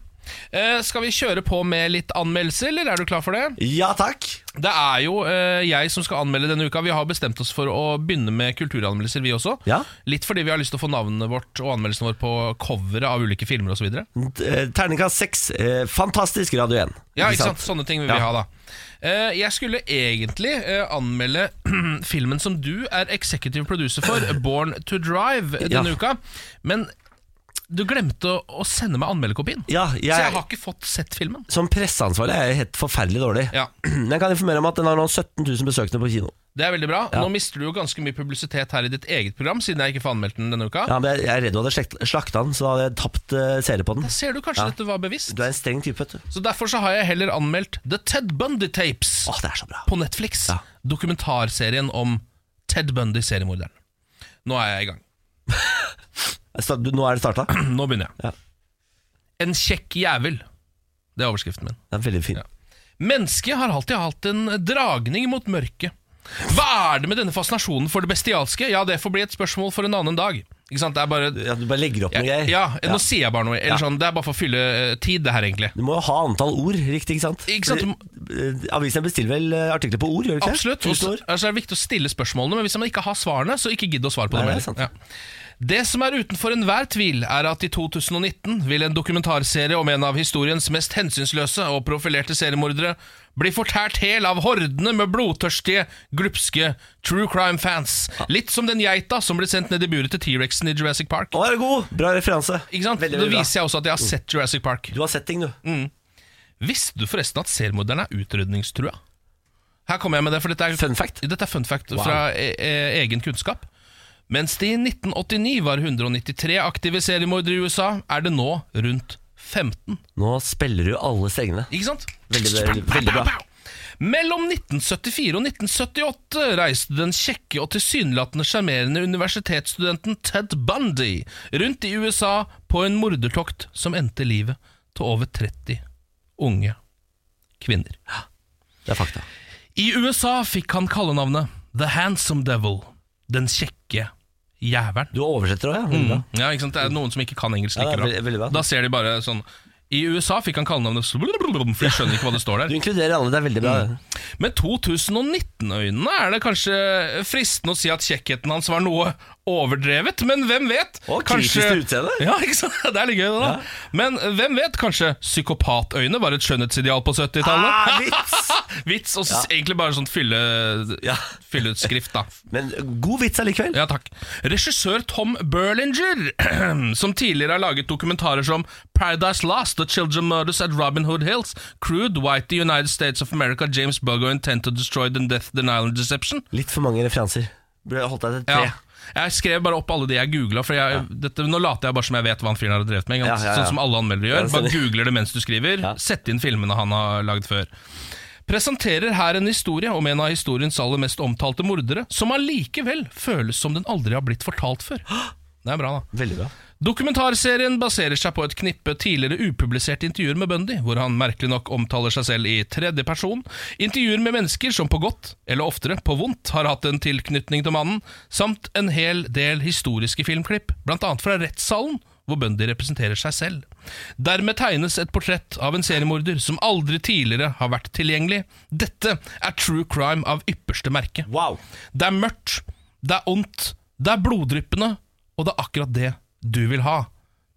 [SPEAKER 2] Eh, skal vi kjøre på med litt anmeldelser, eller er du klar for det?
[SPEAKER 1] Ja takk!
[SPEAKER 2] Det er jo eh, jeg som skal anmelde denne uka. Vi har bestemt oss for å begynne med kulturanmeldelser, vi også.
[SPEAKER 1] Ja.
[SPEAKER 2] Litt fordi vi har lyst til å få navnet vårt og anmeldelsen vår på coveret av ulike filmer osv.
[SPEAKER 1] Eh, Terningkast seks. Eh, fantastisk Radio 1.
[SPEAKER 2] Ja, ikke sant? Sånne ting vil vi
[SPEAKER 1] Ja.
[SPEAKER 2] ha, da. Eh, jeg skulle egentlig eh, anmelde filmen som du er executive producer for, Born to Drive, eh, denne
[SPEAKER 1] Ja.
[SPEAKER 2] uka. Men du glemte å, å sende meg anmeldekopien.
[SPEAKER 1] Ja,
[SPEAKER 2] Så jeg
[SPEAKER 1] jeg,
[SPEAKER 2] har ikke fått sett filmen.
[SPEAKER 1] som presseansvarlig er jeg helt forferdelig dårlig.
[SPEAKER 2] Ja,
[SPEAKER 1] Men Jeg kan informere om at den har nå 17 000 besøkende på kino.
[SPEAKER 2] Det er veldig bra.
[SPEAKER 1] Ja.
[SPEAKER 2] Nå mister du jo ganske mye publisitet her i ditt eget program, siden jeg ikke får anmeldt den denne uka.
[SPEAKER 1] Ja, men jeg, jeg er redd du hadde slekt- slakta den, så da hadde jeg tapt eh, seere på den.
[SPEAKER 2] Da ser du kanskje
[SPEAKER 1] Ja.
[SPEAKER 2] dette var bevisst.
[SPEAKER 1] Du er en streng type, vet du.
[SPEAKER 2] Så derfor så har jeg heller anmeldt The Ted Bundy Tapes
[SPEAKER 1] Åh, det er så bra.
[SPEAKER 2] på Netflix.
[SPEAKER 1] Ja.
[SPEAKER 2] Dokumentarserien om Ted Bundy, seriemorderen. Nå er jeg i gang.
[SPEAKER 1] Så du- Nå er det starta. Den
[SPEAKER 2] Nå begynner jeg.
[SPEAKER 1] Ja.
[SPEAKER 2] En kjekk jævel. Det er overskriften min.
[SPEAKER 1] er veldig fin.
[SPEAKER 2] Ja. Mennesket har alltid hatt en dragning mot mørket. Hva er det med denne fascinasjonen for det bestialske? Ja, det får bli et spørsmål for en annen dag. Ikke sant? Det er bare
[SPEAKER 1] Ja, du bare legger opp noe
[SPEAKER 2] ja,
[SPEAKER 1] greier.
[SPEAKER 2] ja, nå sier jeg bare noe. Eller sånn, det er bare for å fylle eh, tid, det her, egentlig.
[SPEAKER 1] Du må jo ha antall ord riktig, ikke sant?
[SPEAKER 2] Ikke sant, du må-
[SPEAKER 1] Fordi, eh, Avisen bestiller vel eh, artikler på ord, gjør de ikke? det?
[SPEAKER 2] Absolutt. Og så
[SPEAKER 1] Tusen ord.
[SPEAKER 2] altså, er det viktig å stille spørsmålene, men hvis man ikke har svarene, så ikke gidd å svare på
[SPEAKER 1] Nei,
[SPEAKER 2] dem.
[SPEAKER 1] det er
[SPEAKER 2] heller. Ja. Det som er utenfor enhver tvil, er at i 2019 vil en dokumentarserie om en av historiens mest hensynsløse og profilerte seriemordere bli fortært hel av hordene med blodtørstige, glupske true crime-fans. Litt som den geita som ble sendt ned i buret til T-rexen i Jurassic Park.
[SPEAKER 1] Å, er det god! Bra referanse.
[SPEAKER 2] Ikke sant?
[SPEAKER 1] Veldig,
[SPEAKER 2] Nå
[SPEAKER 1] veldig bra. Mm.
[SPEAKER 2] viser jeg også at jeg har sett Jurassic Park.
[SPEAKER 1] Du har sett ting, du.
[SPEAKER 2] Visste du forresten at seriemorderen er utrydningstrua? Her kommer jeg med det, for dette er
[SPEAKER 1] Fun fact.
[SPEAKER 2] Dette er fun fact fra e e egen kunnskap. Mens det i 1989 var 193 aktive seriemordere i USA, er det nå rundt 15.
[SPEAKER 1] Nå spiller du alle strengene.
[SPEAKER 2] Ikke sant?
[SPEAKER 1] Veldig, veldig, veldig bra.
[SPEAKER 2] Mellom 1974 og 1978 reiste den kjekke og tilsynelatende sjarmerende universitetsstudenten Ted Bundy rundt i USA på en mordertokt som endte livet til over 30 unge kvinner.
[SPEAKER 1] Det er fakta.
[SPEAKER 2] I USA fikk han kallenavnet The Handsome Devil, den kjekke jævelen.
[SPEAKER 1] Du oversetter òg, ja. Veldig bra.
[SPEAKER 2] Ja, ikke sant? Det er noen som ikke kan engelsk
[SPEAKER 1] Ja, det
[SPEAKER 2] like
[SPEAKER 1] er
[SPEAKER 2] bra.
[SPEAKER 1] veldig- veldig bra.
[SPEAKER 2] Da ser de bare sånn I USA fikk han kallenavnet For de skjønner ikke hva det står
[SPEAKER 1] Du
[SPEAKER 2] der.
[SPEAKER 1] inkluderer alle, det er veldig bra.
[SPEAKER 2] Mm. Med 2019-øynene er det kanskje fristende å si at kjekkheten hans var noe overdrevet, men hvem vet?
[SPEAKER 1] Og kritisk til utseende.
[SPEAKER 2] Ja, ikke sant? Det er litt gøy, det da. Men eh, hvem vet? Kanskje psykopatøyne var et skjønnhetsideal på 70-tallet?
[SPEAKER 1] Ah, vits!
[SPEAKER 2] Vits, og s- egentlig bare sånn fylle,
[SPEAKER 1] Ja.
[SPEAKER 2] fylleutskrift, da.
[SPEAKER 1] Men god vits allikevel.
[SPEAKER 2] Ja, takk. Regissør Tom Berlinger, som tidligere har laget dokumentarer som Paradise Lost, The Children Murders at Robin Hood Hills, Crude, White, The United States of America, James Burgo, Intent to Destroy, The Death, Denial and Deception.
[SPEAKER 1] Litt for mange referanser. Burde holdt deg til tre.
[SPEAKER 2] Ja. Jeg skrev bare opp alle de jeg googla. For jeg, dette, nå later jeg bare som jeg vet hva han fyren har drevet med. ikke sant?
[SPEAKER 1] Ja, ja, ja.
[SPEAKER 2] Sånn som alle anmeldere
[SPEAKER 1] Ja,
[SPEAKER 2] gjør.
[SPEAKER 1] det
[SPEAKER 2] Bare
[SPEAKER 1] stemmer.
[SPEAKER 2] googler det mens du skriver.
[SPEAKER 1] Ja.
[SPEAKER 2] Sett inn filmene han har lagd før. Presenterer her en historie om en av historiens aller mest omtalte mordere, som allikevel føles som den aldri har blitt fortalt før. Det er bra, da.
[SPEAKER 1] Veldig bra.
[SPEAKER 2] Dokumentarserien baserer seg på et knippe tidligere upubliserte intervjuer med Bundy, hvor han merkelig nok omtaler seg selv i tredje person, intervjuer med mennesker som på godt, eller oftere på vondt, har hatt en tilknytning til mannen, samt en hel del historiske filmklipp, blant annet fra rettssalen, hvor Bundy representerer seg selv. Dermed tegnes et portrett av en seriemorder som aldri tidligere har vært tilgjengelig. Dette er true crime av ypperste merke.
[SPEAKER 1] Wow.
[SPEAKER 2] Det er mørkt, det er ondt, det er bloddryppende, og det er akkurat det du vil ha.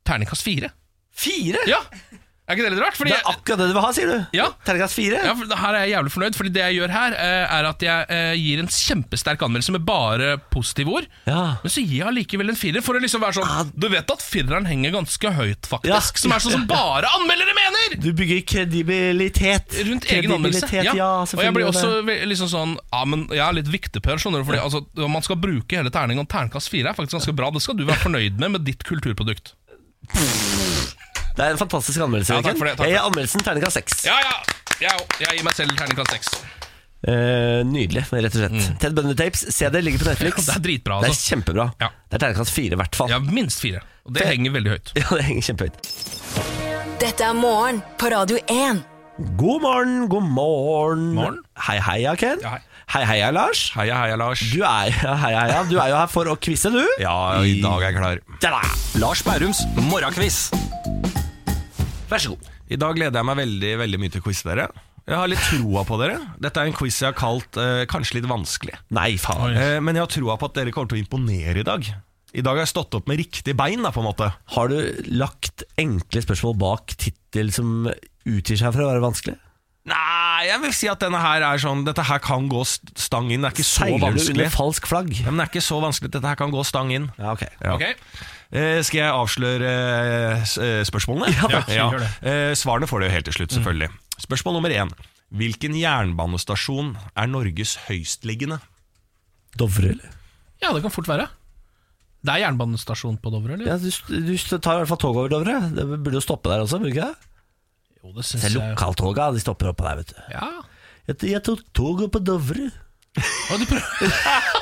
[SPEAKER 2] Terningkast fire.
[SPEAKER 1] Fire!
[SPEAKER 2] Ja! Er ikke det litt rart? Fordi
[SPEAKER 1] Det er akkurat det du vil ha, sier du.
[SPEAKER 2] Ja.
[SPEAKER 1] Terningkast fire.
[SPEAKER 2] ja, for her er jeg jævlig fornøyd, Fordi det jeg gjør her, eh, er at jeg eh, gir en kjempesterk anmeldelse med bare positive ord.
[SPEAKER 1] Ja.
[SPEAKER 2] Men så gir jeg allikevel en firer, for å liksom være
[SPEAKER 1] Ah.
[SPEAKER 2] sånn Du vet at fireren henger ganske høyt, faktisk.
[SPEAKER 1] Ja.
[SPEAKER 2] Som er sånn som bare anmeldere mener!
[SPEAKER 1] Du bygger kredibilitet.
[SPEAKER 2] Rundt egen anmeldelse.
[SPEAKER 1] Kredibilitet, ja,
[SPEAKER 2] og jeg
[SPEAKER 1] selvfølgelig.
[SPEAKER 2] blir også ve- liksom sånn Ja, men jeg er litt viktigper, skjønner du. Fordi altså, man skal bruke hele terningen, og terningkast fire er faktisk ganske bra. Det skal du være fornøyd med med ditt kulturprodukt.
[SPEAKER 1] Det er en fantastisk anmeldelse.
[SPEAKER 2] Ja, takk for det,
[SPEAKER 1] Jørgen.
[SPEAKER 2] takk for
[SPEAKER 1] Jeg gir anmeldelsen terningkast seks.
[SPEAKER 2] Ja, ja! Jeg, òg. jeg gir meg selv terningkast seks.
[SPEAKER 1] Eh, nydelig, rett og slett. Ted Bundy Tapes, se det, ligger på Netflix.
[SPEAKER 2] Mm. Ja, det er dritbra,
[SPEAKER 1] Det er
[SPEAKER 2] altså.
[SPEAKER 1] kjempebra.
[SPEAKER 2] Ja.
[SPEAKER 1] Det er terningkast fire, i hvert fall.
[SPEAKER 2] Ja, minst fire. Og det
[SPEAKER 1] Fe-
[SPEAKER 2] henger veldig høyt.
[SPEAKER 1] Ja, det henger kjempehøyt.
[SPEAKER 3] Dette er morgen på Radio 1.
[SPEAKER 1] God morgen, god morgen.
[SPEAKER 2] Morgen.
[SPEAKER 1] Hei, heia, Ken.
[SPEAKER 2] Ja, hei.
[SPEAKER 1] hei, heia, Lars.
[SPEAKER 6] Heia, heia, Lars.
[SPEAKER 1] Du er, ja, hei, heia. du er jo her for å quize, du.
[SPEAKER 6] Ja, i dag er jeg klar.
[SPEAKER 1] Da, da.
[SPEAKER 6] Lars Bærums morgenkviss.
[SPEAKER 1] Vær så god.
[SPEAKER 6] I dag gleder jeg meg veldig veldig mye til å quize dere. Jeg har litt troa på dere. Dette er en quiz jeg har kalt eh, kanskje litt vanskelig.
[SPEAKER 1] Nei, faen.
[SPEAKER 6] Eh, men jeg har troa på at dere kommer til å imponere i dag. I dag har jeg stått opp med riktig bein, da, på en måte.
[SPEAKER 1] Har du lagt enkle spørsmål bak tittel som utgir seg for å være vanskelig?
[SPEAKER 6] Nei, jeg vil si at denne her er sånn Dette her kan gå st- stang inn. Det er ikke så
[SPEAKER 1] Seiler du
[SPEAKER 6] vanskelig.
[SPEAKER 1] under falsk flagg?
[SPEAKER 6] Ja, men det er ikke så vanskelig. Dette her kan gå stang inn.
[SPEAKER 1] Ja, ok.
[SPEAKER 6] Ja.
[SPEAKER 2] Ok?
[SPEAKER 6] Eh, skal jeg avsløre eh, s- eh, spørsmålene?
[SPEAKER 1] Ja, takk.
[SPEAKER 2] Gjør det.
[SPEAKER 6] Eh, svarene får du jo helt til slutt, selvfølgelig. Spørsmål nummer én. Hvilken jernbanestasjon er Norges høyestliggende?
[SPEAKER 1] Dovre, eller?
[SPEAKER 2] Ja, det kan fort være. Det er jernbanestasjon på Dovre, eller?
[SPEAKER 1] Ja, du, du tar i hvert fall tog over Dovre. Det burde jo stoppe der også, burde ikke det?
[SPEAKER 2] Jo, det syns
[SPEAKER 1] Det er
[SPEAKER 2] jeg.
[SPEAKER 1] lokaltoga, de stopper oppå der, vet du.
[SPEAKER 2] Ja.
[SPEAKER 1] Jeg, jeg tok toget på Dovre.
[SPEAKER 2] Og du prøver.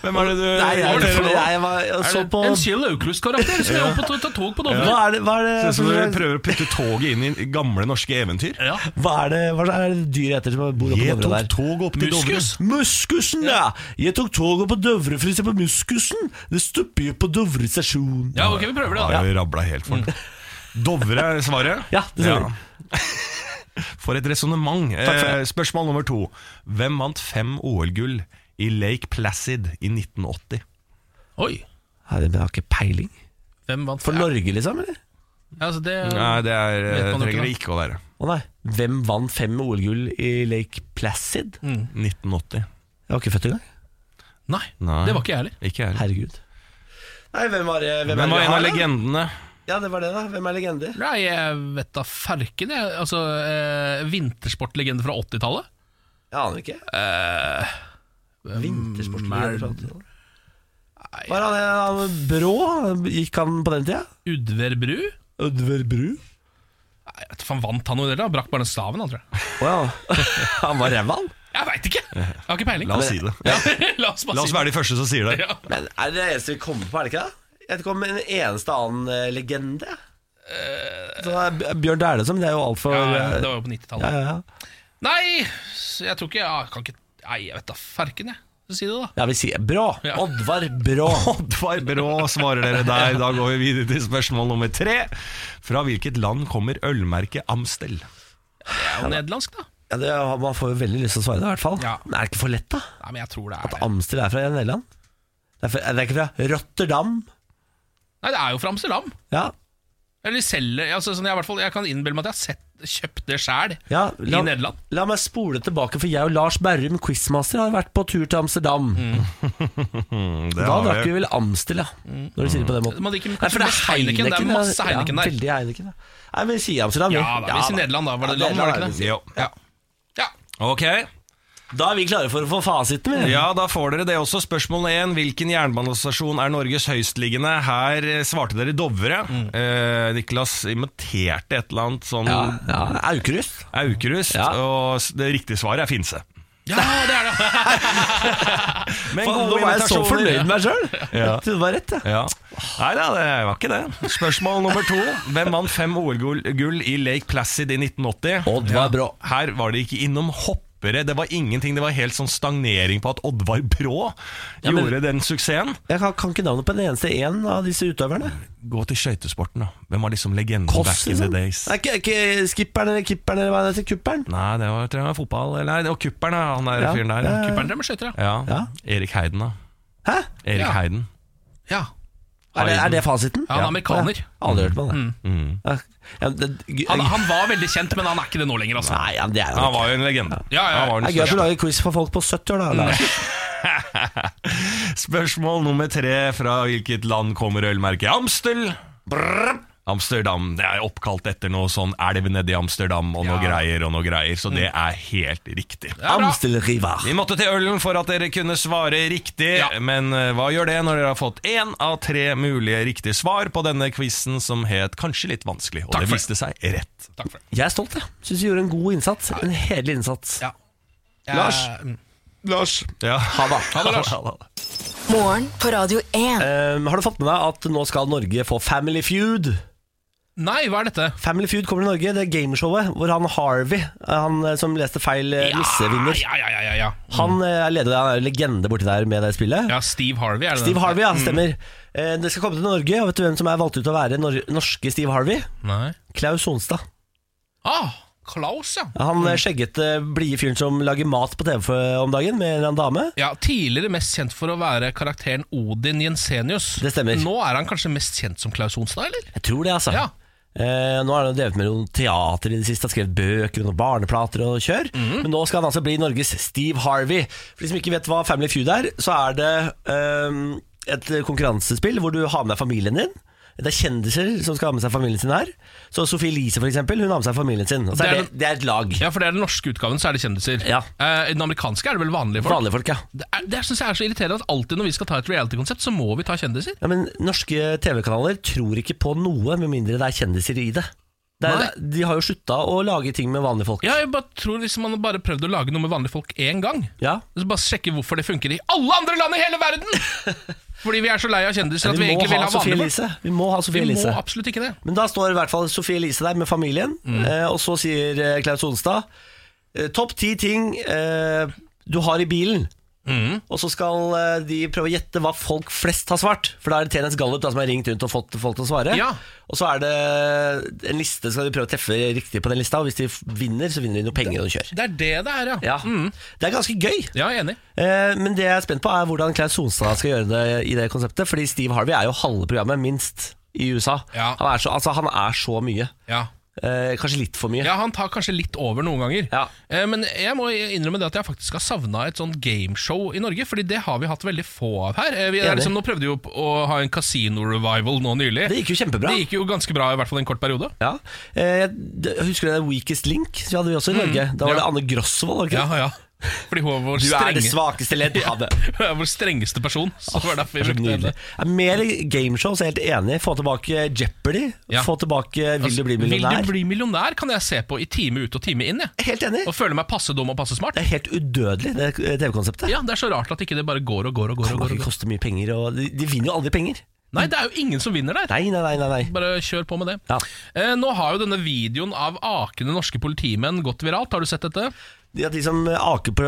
[SPEAKER 6] Hvem er det du
[SPEAKER 1] Nei,
[SPEAKER 6] Hva
[SPEAKER 1] jeg,
[SPEAKER 6] var det for noe?
[SPEAKER 1] nei, jeg var jeg
[SPEAKER 2] Er
[SPEAKER 1] så
[SPEAKER 2] det
[SPEAKER 1] på
[SPEAKER 2] en Kjell Aukrust-karakter som er oppe og tar tog på Dovre?
[SPEAKER 1] Hva er det, hva er det,
[SPEAKER 6] Ser ut som dere
[SPEAKER 1] hva
[SPEAKER 6] prøver å putte toget inn i gamle norske eventyr.
[SPEAKER 2] Ja.
[SPEAKER 1] er det, hva er det dyr heter som bor oppå
[SPEAKER 6] Jeg
[SPEAKER 1] Dovre
[SPEAKER 6] tok
[SPEAKER 1] der?
[SPEAKER 6] toget opp til Dovre.
[SPEAKER 2] Muskus?
[SPEAKER 1] Muskusen, ja! Jeg tok toget på Dovre for å se på Muskusen. Det stopper jo på Dovre stasjon.
[SPEAKER 2] Ja, ok, vi prøver det,
[SPEAKER 6] Ja,
[SPEAKER 2] da.
[SPEAKER 6] jeg rabla helt for den. Dovre er svaret.
[SPEAKER 1] Ja, det ser vi.
[SPEAKER 6] For et resonnement.
[SPEAKER 1] for det.
[SPEAKER 6] Eh, spørsmål nummer to. Hvem vant fem OL-gull i Lake Placid i 1980?
[SPEAKER 2] Oi.
[SPEAKER 1] Nei, men jeg har ikke peiling.
[SPEAKER 2] Hvem vant?
[SPEAKER 1] For Norge, liksom? eller?
[SPEAKER 2] Ja, altså, det,
[SPEAKER 6] Nei, det er, eh,
[SPEAKER 2] Vet man jo
[SPEAKER 6] trenger det
[SPEAKER 2] ikke,
[SPEAKER 6] ikke å være.
[SPEAKER 1] Å nei. Hvem vant fem OL-gull i Lake Placid?
[SPEAKER 6] 1980.
[SPEAKER 1] Jeg var ikke født engang.
[SPEAKER 2] nei,
[SPEAKER 6] Nei.
[SPEAKER 2] det var ikke jeg heller.
[SPEAKER 6] Ikke jeg.
[SPEAKER 1] Herregud. Nei, hvem var, det- hvem er
[SPEAKER 6] Hvem
[SPEAKER 1] det
[SPEAKER 6] var
[SPEAKER 1] vi
[SPEAKER 6] en
[SPEAKER 1] har
[SPEAKER 6] av
[SPEAKER 1] da?
[SPEAKER 6] legendene?
[SPEAKER 1] Ja, det var det, da. Hvem er legender?
[SPEAKER 2] Nei, jeg vet da farken. Jeg. Altså, eh, vintersportlegende fra 80-tallet.
[SPEAKER 1] Jeg aner ikke. Vintersportslegende fra 80-tallet. Var han, han brå? Gikk han på den tida?
[SPEAKER 2] Udver Bru?
[SPEAKER 1] Ødver Bru?
[SPEAKER 2] Nei, jeg vet, ikke, han vant han noe i det, da? Brakk bare den staven, han, tror jeg.
[SPEAKER 1] Å ja. Han var ræva, han.
[SPEAKER 2] Jeg veit ikke! Jeg har ikke peiling.
[SPEAKER 6] La oss si det.
[SPEAKER 2] Ja, la oss
[SPEAKER 6] La
[SPEAKER 2] bare
[SPEAKER 6] oss
[SPEAKER 2] si det.
[SPEAKER 6] være de første som sier det.
[SPEAKER 2] Ja.
[SPEAKER 1] Men er det det eneste vi kommer på, er det ikke det? Jeg vet ikke om en eneste annen eh, legende. Så det er Bjørn Dæhlie som, det er jo altfor
[SPEAKER 2] Eh, Ja,
[SPEAKER 1] ja,
[SPEAKER 2] det var jo på 90-tallet.
[SPEAKER 1] ja, ja.
[SPEAKER 2] Nei, så jeg tror ikke Jeg kan ikke Nei, jeg vet da farken, jeg. Så Si det, da.
[SPEAKER 1] ja, vi sier Brå.
[SPEAKER 2] Ja.
[SPEAKER 1] Oddvar Brå.
[SPEAKER 6] Oddvar Brå svarer dere der. Da går vi videre til spørsmål nummer tre. Fra hvilket land kommer ølmerket Amstel?
[SPEAKER 2] Det er jo nederlandsk, da.
[SPEAKER 1] Ja, det, man får jo veldig lyst til å svare det, i hvert fall.
[SPEAKER 2] Ja.
[SPEAKER 1] Men er det ikke for lett, da?
[SPEAKER 2] Nei, men jeg tror det
[SPEAKER 1] At
[SPEAKER 2] er
[SPEAKER 1] Amstel er fra Nederland? Det er, fra, det er ikke fra Rotterdam?
[SPEAKER 2] Nei, det er jo fra Amsterdam.
[SPEAKER 1] Ja,
[SPEAKER 2] Eller selger altså, sånn, jeg, i hvert fall, jeg kan innbille meg at jeg har sett, kjøpt det sjæl
[SPEAKER 1] ja
[SPEAKER 2] i Nederland.
[SPEAKER 1] La meg spole tilbake, for jeg og Lars Berrum, quizmaster, har vært på tur til Amsterdam.
[SPEAKER 2] Mm.
[SPEAKER 6] Det
[SPEAKER 1] Da
[SPEAKER 6] har
[SPEAKER 1] drakk
[SPEAKER 6] vi.
[SPEAKER 1] vi vel Amstel, ja.
[SPEAKER 2] Mm.
[SPEAKER 1] Når du sier det på den måten.
[SPEAKER 2] Man drikker
[SPEAKER 1] Nei, for det er
[SPEAKER 2] kanskje mest Heineken, det er
[SPEAKER 1] ja.
[SPEAKER 2] masse Heineken der.
[SPEAKER 1] Ja, veldig Heineken, ja. Nei, vi sier Amsterdam, vi.
[SPEAKER 2] Ja da, hvis i Nederland da, var det
[SPEAKER 1] Ja,
[SPEAKER 2] land, var det
[SPEAKER 1] Nederland
[SPEAKER 2] ikke det?
[SPEAKER 6] Jo.
[SPEAKER 2] Ja. ja.
[SPEAKER 6] Ok,
[SPEAKER 1] Da er vi klare for å få fasiten, vi.
[SPEAKER 6] ja, da får dere det også. Spørsmål 1. Hvilken jernbanestasjon er Norges høyestliggende? Her eh, svarte dere Dovre. Eh, Niklas imiterte et eller annet sånn
[SPEAKER 1] Ja, ja. Aukrust.
[SPEAKER 6] Aukrust,
[SPEAKER 1] Ja.
[SPEAKER 6] og s- det riktige svaret er Finse.
[SPEAKER 2] ja, det er det!
[SPEAKER 6] Men
[SPEAKER 1] Faen, Nå var jeg så fornøyd med meg sjøl!
[SPEAKER 6] Ja.
[SPEAKER 1] Jeg trodde det var rett, jeg.
[SPEAKER 6] Ja. Nei da, det var ikke det. Spørsmål nummer to. Hvem vant fem OL-gull gull i Lake Placid i 1980?
[SPEAKER 1] Oddvar Brå.
[SPEAKER 6] Her var det ikke innom hoppere. Det var ingenting. Det var helt sånn stagnering på at Oddvar Brå
[SPEAKER 1] Ja, men-
[SPEAKER 6] gjorde den suksessen.
[SPEAKER 1] Jeg kan, kan ikke navnet på den eneste en av disse utøverne.
[SPEAKER 6] Gå til skøytesporten, da. Hvem var liksom legenden
[SPEAKER 1] Koss,
[SPEAKER 6] back in
[SPEAKER 1] liksom.
[SPEAKER 6] the days?
[SPEAKER 1] Nei, ikke, ikke skipperen eller kipperen eller hva det heter. Kupperen.
[SPEAKER 6] Nei, det var, tror jeg var fotball. Eller, nei, det var kupperen, da, han der
[SPEAKER 1] Ja.
[SPEAKER 6] fyren der.
[SPEAKER 1] Ja.
[SPEAKER 2] Kupperen drev med skøyter, ja.
[SPEAKER 6] Ja.
[SPEAKER 1] Ja.
[SPEAKER 6] Erik Heiden, da.
[SPEAKER 1] Hæ?
[SPEAKER 6] Erik
[SPEAKER 2] Ja.
[SPEAKER 6] Heiden.
[SPEAKER 2] ja.
[SPEAKER 1] Er det, er
[SPEAKER 6] Heiden. Mm.
[SPEAKER 1] det fasiten?
[SPEAKER 2] Ja, han er amerikaner.
[SPEAKER 1] Ja. Aldri hørt på han, det. Ja. Ja, men det, gøy-
[SPEAKER 2] Han, han var veldig kjent, men han er ikke det nå lenger, altså.
[SPEAKER 1] Nei, ja, men det er
[SPEAKER 6] Han
[SPEAKER 1] han ikke.
[SPEAKER 6] var Mm. jo en legende.
[SPEAKER 2] Ja, ja, ja.
[SPEAKER 6] Han var den
[SPEAKER 1] Det er gøy at
[SPEAKER 6] største.
[SPEAKER 1] du lager quiz for folk på 70 år, da. Lars.
[SPEAKER 6] Spørsmål nummer tre Fra hvilket land kommer ølmerket Amstel? Amsterdam, det er oppkalt etter noe sånn elv nede i Amsterdam og noe
[SPEAKER 2] Ja.
[SPEAKER 6] greier og noe greier, så det er helt riktig.
[SPEAKER 2] Ja, bra.
[SPEAKER 1] Amstelrivar.
[SPEAKER 6] Vi måtte til ølen for at dere kunne svare riktig,
[SPEAKER 2] Ja.
[SPEAKER 6] men eh, hva gjør det når dere har fått én av tre mulige riktige svar på denne quizen som het kanskje litt vanskelig, og
[SPEAKER 2] Takk
[SPEAKER 6] det
[SPEAKER 2] for
[SPEAKER 6] viste seg rett.
[SPEAKER 2] Takk for det.
[SPEAKER 1] Jeg er stolt, jeg. Syns vi gjorde en god innsats. En hederlig innsats.
[SPEAKER 2] Ja. Jeg-
[SPEAKER 1] Lars?
[SPEAKER 2] Lars.
[SPEAKER 6] Ja. Ha det, Lars.
[SPEAKER 3] Morgen på Radio 1.
[SPEAKER 1] Ehm, har du fått med deg at nå skal Norge få Family Feud?
[SPEAKER 2] Nei, hva er dette?
[SPEAKER 1] Family Feud kommer til Norge, det er gameshowet hvor han Harvey, han eh, som leste feil eh, nissevinner,
[SPEAKER 2] Ja, ja, ja, ja, ja.
[SPEAKER 1] han eh, er leder av en legende borti der med det spillet.
[SPEAKER 2] ja Steve Harvey, er det
[SPEAKER 1] Steve
[SPEAKER 2] den? Mm.
[SPEAKER 1] Harvey, ja, stemmer. Eh, Det skal komme til Norge, og vet du hvem som er valgt ut til å være nor norske Steve Harvey?
[SPEAKER 2] Nei.
[SPEAKER 1] Klaus Sonstad.
[SPEAKER 2] Ah, Klaus, ja.
[SPEAKER 1] Han eh, skjeggete, blide fyren som lager mat på TV for- om dagen med en eller annen dame.
[SPEAKER 2] ja. Tidligere mest kjent for å være karakteren Odin Jensenius.
[SPEAKER 1] Det stemmer.
[SPEAKER 2] Nå er han kanskje mest kjent som Klaus Onstad, eller?
[SPEAKER 1] Jeg tror det, altså.
[SPEAKER 2] Ja.
[SPEAKER 1] Eh, nå har han jo drevet med noen teater i det siste, har skrevet bøker og noen barneplater og kjør.
[SPEAKER 2] Mhm.
[SPEAKER 1] Men nå skal han altså bli Norges Steve Harvey. For de som ikke vet hva Family Feud er, så er det ehm, et konkurransespill hvor du har med deg familien din. Det er kjendiser som skal ha med seg familien sin her. Så Sophie Elise, for eksempel, hun har med seg familien sin. Og så
[SPEAKER 2] Det
[SPEAKER 1] er
[SPEAKER 2] er
[SPEAKER 1] det, det er et lag.
[SPEAKER 2] Ja, for det er den norske utgaven, så er det kjendiser.
[SPEAKER 1] Ja.
[SPEAKER 2] Eh, I den amerikanske er det vel vanlige folk?
[SPEAKER 1] Vanlige folk, ja.
[SPEAKER 2] Det, er, det synes jeg er så irriterende at alltid når vi skal ta et reality-konsept, så må vi ta kjendiser.
[SPEAKER 1] ja. Men norske TV-kanaler tror ikke på noe med mindre det er kjendiser i det. det er, de har jo slutta å lage ting med vanlige folk.
[SPEAKER 2] Ja, jeg bare tror Hvis man bare prøvde å lage noe med vanlige folk én gang,
[SPEAKER 1] Ja.
[SPEAKER 2] så bare sjekke hvorfor det funker i alle andre land i hele verden! Fordi vi er så lei av kjendiser at
[SPEAKER 1] Vi
[SPEAKER 2] vi
[SPEAKER 1] må
[SPEAKER 2] egentlig vil
[SPEAKER 1] ha
[SPEAKER 2] ha
[SPEAKER 1] Sophie
[SPEAKER 2] vanlige folk.
[SPEAKER 1] Elise. Vi må ha Sophie
[SPEAKER 2] Vi må
[SPEAKER 1] Elise.
[SPEAKER 2] absolutt ikke det.
[SPEAKER 1] Men da står i hvert fall Sofie Elise der med familien,
[SPEAKER 2] Mm.
[SPEAKER 1] eh, og så sier eh, Klaus Onstad eh, Topp ti ting eh, du har i bilen.
[SPEAKER 2] Mm.
[SPEAKER 1] Og så skal eh, de prøve å gjette hva folk flest har svart. For da er det TNS Gallup da, som har ringt rundt og fått folk til å svare.
[SPEAKER 2] Ja.
[SPEAKER 1] Og så er det en liste, skal de prøve å treffe riktig på den lista. Og hvis de f- vinner, så vinner de noe penger og kjør.
[SPEAKER 2] Det er det det er, ja. Mm.
[SPEAKER 1] Ja. Det er ganske gøy.
[SPEAKER 2] Ja, jeg er enig.
[SPEAKER 1] Eh, Men det jeg er spent på, er hvordan Klaus Sonstad skal gjøre det i det konseptet. Fordi Steve Harvey er jo halve programmet, minst, i USA.
[SPEAKER 2] Ja.
[SPEAKER 1] Han, er så, altså, han er så mye.
[SPEAKER 2] Ja.
[SPEAKER 1] Eh, kanskje litt for mye.
[SPEAKER 2] ja, han tar kanskje litt over noen ganger.
[SPEAKER 1] Ja.
[SPEAKER 2] Eh, Men jeg må innrømme det at jeg faktisk har savna et sånn gameshow i Norge, Fordi det har vi hatt veldig få av her. Eh, Vi
[SPEAKER 1] Enig.
[SPEAKER 2] er liksom, nå prøvde vi jo å ha en casino-revival nå nylig.
[SPEAKER 1] Det gikk jo kjempebra.
[SPEAKER 2] Det gikk jo ganske bra, i hvert fall en kort periode.
[SPEAKER 1] Ja. Eh, d- husker du det Weakest Link? Så hadde vi også i Norge. Da var
[SPEAKER 2] Mm. ja.
[SPEAKER 1] det Anne Grosvold. var det
[SPEAKER 2] Ja,
[SPEAKER 1] ikke det?
[SPEAKER 2] ja. Fordi hun var vår,
[SPEAKER 1] Du er det
[SPEAKER 2] strenge,
[SPEAKER 1] svakeste ledd. Ha det.
[SPEAKER 2] hun er vår strengeste person. Så det var derfor
[SPEAKER 1] Det er
[SPEAKER 2] vi
[SPEAKER 1] så
[SPEAKER 2] brukte
[SPEAKER 1] nydelig.
[SPEAKER 2] henne.
[SPEAKER 1] Ja, mer gameshow, så jeg er helt enig. Få tilbake Jeopardy.
[SPEAKER 2] Ja.
[SPEAKER 1] Få tilbake Vil du bli millionær?
[SPEAKER 2] Vil du bli millionær kan jeg se på i time ut og time inn, jeg.
[SPEAKER 1] Helt enig.
[SPEAKER 2] Og føle meg passe dum og passe smart.
[SPEAKER 1] Det er helt udødelig, det eh, TV-konseptet.
[SPEAKER 2] Ja, Det er så rart at ikke det bare går og går og går.
[SPEAKER 1] Det
[SPEAKER 2] og
[SPEAKER 1] må
[SPEAKER 2] går, og
[SPEAKER 1] ikke
[SPEAKER 2] går.
[SPEAKER 1] koste mye penger, og de, de vinner jo aldri penger.
[SPEAKER 2] Nei, det er jo ingen som vinner der.
[SPEAKER 1] Nei, nei, nei. nei, nei.
[SPEAKER 2] Bare kjør på med det.
[SPEAKER 1] Ja.
[SPEAKER 2] Eh, nå har jo denne videoen av akende norske politimenn gått viralt. Har du sett dette?
[SPEAKER 1] De, de som aker på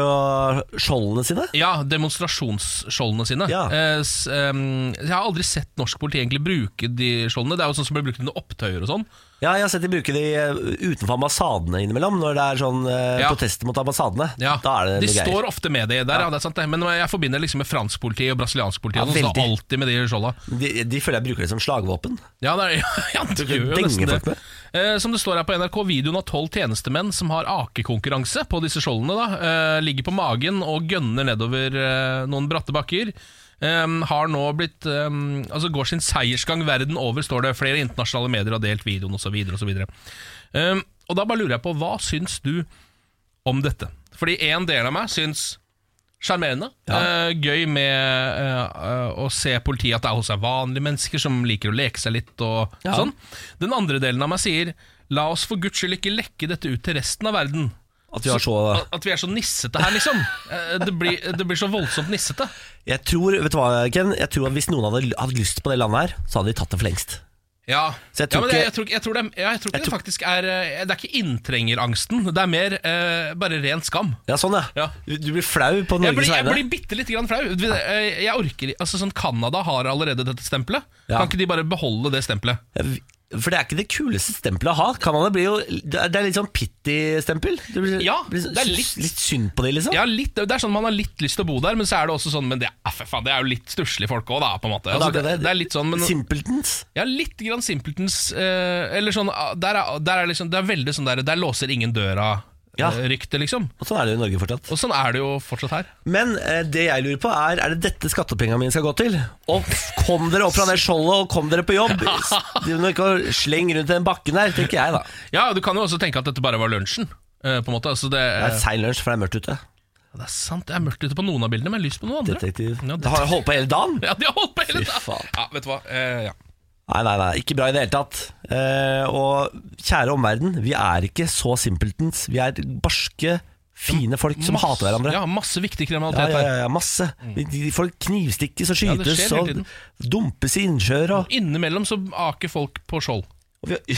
[SPEAKER 1] skjoldene sine.
[SPEAKER 2] Ja, demonstrasjonsskjoldene sine.
[SPEAKER 1] Ja.
[SPEAKER 2] Eh, s, ehm, jeg har aldri sett norsk politi egentlig bruke de skjoldene. Det er jo sånn som blir brukt under opptøyer og sånn.
[SPEAKER 1] Ja, jeg har sett de bruke de eh, utenfor ambassadene innimellom, når det er sånn eh,
[SPEAKER 2] Ja.
[SPEAKER 1] protester mot ambassadene.
[SPEAKER 2] Ja,
[SPEAKER 1] Da er det
[SPEAKER 2] De
[SPEAKER 1] noe greier.
[SPEAKER 2] står ofte med det der, ja. det er sant det. men jeg forbinder liksom med fransk politi og brasiliansk politi.
[SPEAKER 1] Ja,
[SPEAKER 2] og sånn, så
[SPEAKER 1] veldig.
[SPEAKER 2] alltid med de skjolda.
[SPEAKER 1] De, de føler jeg bruker det som slagvåpen.
[SPEAKER 2] Ja, det er, ja, det gjør jo
[SPEAKER 1] denger
[SPEAKER 2] nesten
[SPEAKER 1] folk med.
[SPEAKER 2] det. Eh, som det står her på NRK, videoen av tolv tjenestemenn som har akekonkurranse på disse skjoldene, da, eh, ligger på magen og gønner nedover eh, noen bratte bakker. Eh, har nå blitt eh, Altså går sin seiersgang verden over, står det. Flere internasjonale medier har delt videoen osv. Og, så videre. Eh, og da bare lurer jeg på, hva syns du om dette? Fordi en del av meg syns Sjarmerende. Eh, gøy med eh, eh, å se politiet at det er hos seg vanlige mennesker som liker å leke seg litt og sånn. Den andre delen av meg sier la oss for guds skyld ikke lekke dette ut til resten av verden.
[SPEAKER 1] At vi har så
[SPEAKER 2] At, at vi er så nissete her, liksom. Eh, det, blir, det blir så voldsomt nissete.
[SPEAKER 1] Jeg tror vet du hva, Ken? Jeg tror at hvis noen hadde l- hatt lyst på det landet her, så hadde de tatt det for lengst.
[SPEAKER 2] Ja,
[SPEAKER 1] Så jeg
[SPEAKER 2] ja
[SPEAKER 1] tror
[SPEAKER 2] men det,
[SPEAKER 1] ikke-
[SPEAKER 2] jeg, tror, ikke- jeg tror det, ja, jeg tror ikke
[SPEAKER 1] Jeg tror-
[SPEAKER 2] det faktisk er eh, Det er ikke inntrengerangsten, det er mer eh, bare ren skam.
[SPEAKER 1] Ja, sånn, ja.
[SPEAKER 2] Ja.
[SPEAKER 1] Du, du blir flau på
[SPEAKER 2] Jeg
[SPEAKER 1] Norges
[SPEAKER 2] blir, jeg
[SPEAKER 1] vegne.
[SPEAKER 2] blir bitte litt grann flau. Jeg jeg orker altså sånn Canada har allerede dette stempelet.
[SPEAKER 1] Ja.
[SPEAKER 2] Kan ikke de bare beholde det stempelet?
[SPEAKER 1] Ja, For det er ikke det kuleste stempelet å ha. Canada blir jo Det er- det er litt sånn pitty-stempel. Det blir-
[SPEAKER 2] Ja,
[SPEAKER 1] blir så-
[SPEAKER 2] det er litt-
[SPEAKER 1] litt synd på de, liksom.
[SPEAKER 2] Ja, litt, det er sånn Man har litt lyst til å bo der, men så er det også sånn Men det er, for faen, det er jo litt stusslige folk òg, da. på en måte
[SPEAKER 1] Ja,
[SPEAKER 2] altså,
[SPEAKER 1] det er
[SPEAKER 2] det,
[SPEAKER 1] det.
[SPEAKER 2] det er litt sånn, men
[SPEAKER 1] Simpletons.
[SPEAKER 2] Ja, litt grann simpeltens eh, Eller sånn ah, der er, der er liksom, Det er veldig sånn der Der låser ingen
[SPEAKER 1] Ja.
[SPEAKER 2] døra-rykte, liksom.
[SPEAKER 1] Og sånn er det jo i Norge fortsatt.
[SPEAKER 2] Og sånn er det jo fortsatt her.
[SPEAKER 1] Men eh, det jeg lurer på er Er det dette skattepengene mine skal gå til? Og kom dere opp fra det skjoldet og kom dere på jobb Du må ikke sleng rundt i den bakken her Tenker jeg da Det
[SPEAKER 2] Ja, du kan jo også tenke at dette bare var lunsjen. eh, på en måte altså, det,
[SPEAKER 1] er sein lunsj for det er mørkt ute
[SPEAKER 2] det er sant, det er mørkt ute på noen av bildene, men lys på noen andre.
[SPEAKER 1] Detektiv
[SPEAKER 2] Ja,
[SPEAKER 1] Det har holdt på hele dagen
[SPEAKER 2] Ja, de har holdt på hele
[SPEAKER 1] Fy faen.
[SPEAKER 2] tiden! Ja, vet du hva. eh, ja.
[SPEAKER 1] Nei, nei, nei Ikke bra i det hele tatt eh, Og kjære omverden Vi er ikke så simpeltens Vi er barske Fine folk som
[SPEAKER 2] Masse-
[SPEAKER 1] hater hverandre
[SPEAKER 2] Ja, masse viktig
[SPEAKER 1] ja,
[SPEAKER 2] kriminalitet
[SPEAKER 1] ja,
[SPEAKER 2] her.
[SPEAKER 1] ja, ja, masse De- de- Folk knivstikkes og
[SPEAKER 2] Mm. Ja, det skjer
[SPEAKER 1] skytes
[SPEAKER 2] hele tiden.
[SPEAKER 1] Og dumpes i innsjøer og,
[SPEAKER 2] Innimellom så aker folk på skjold.
[SPEAKER 1] og vi,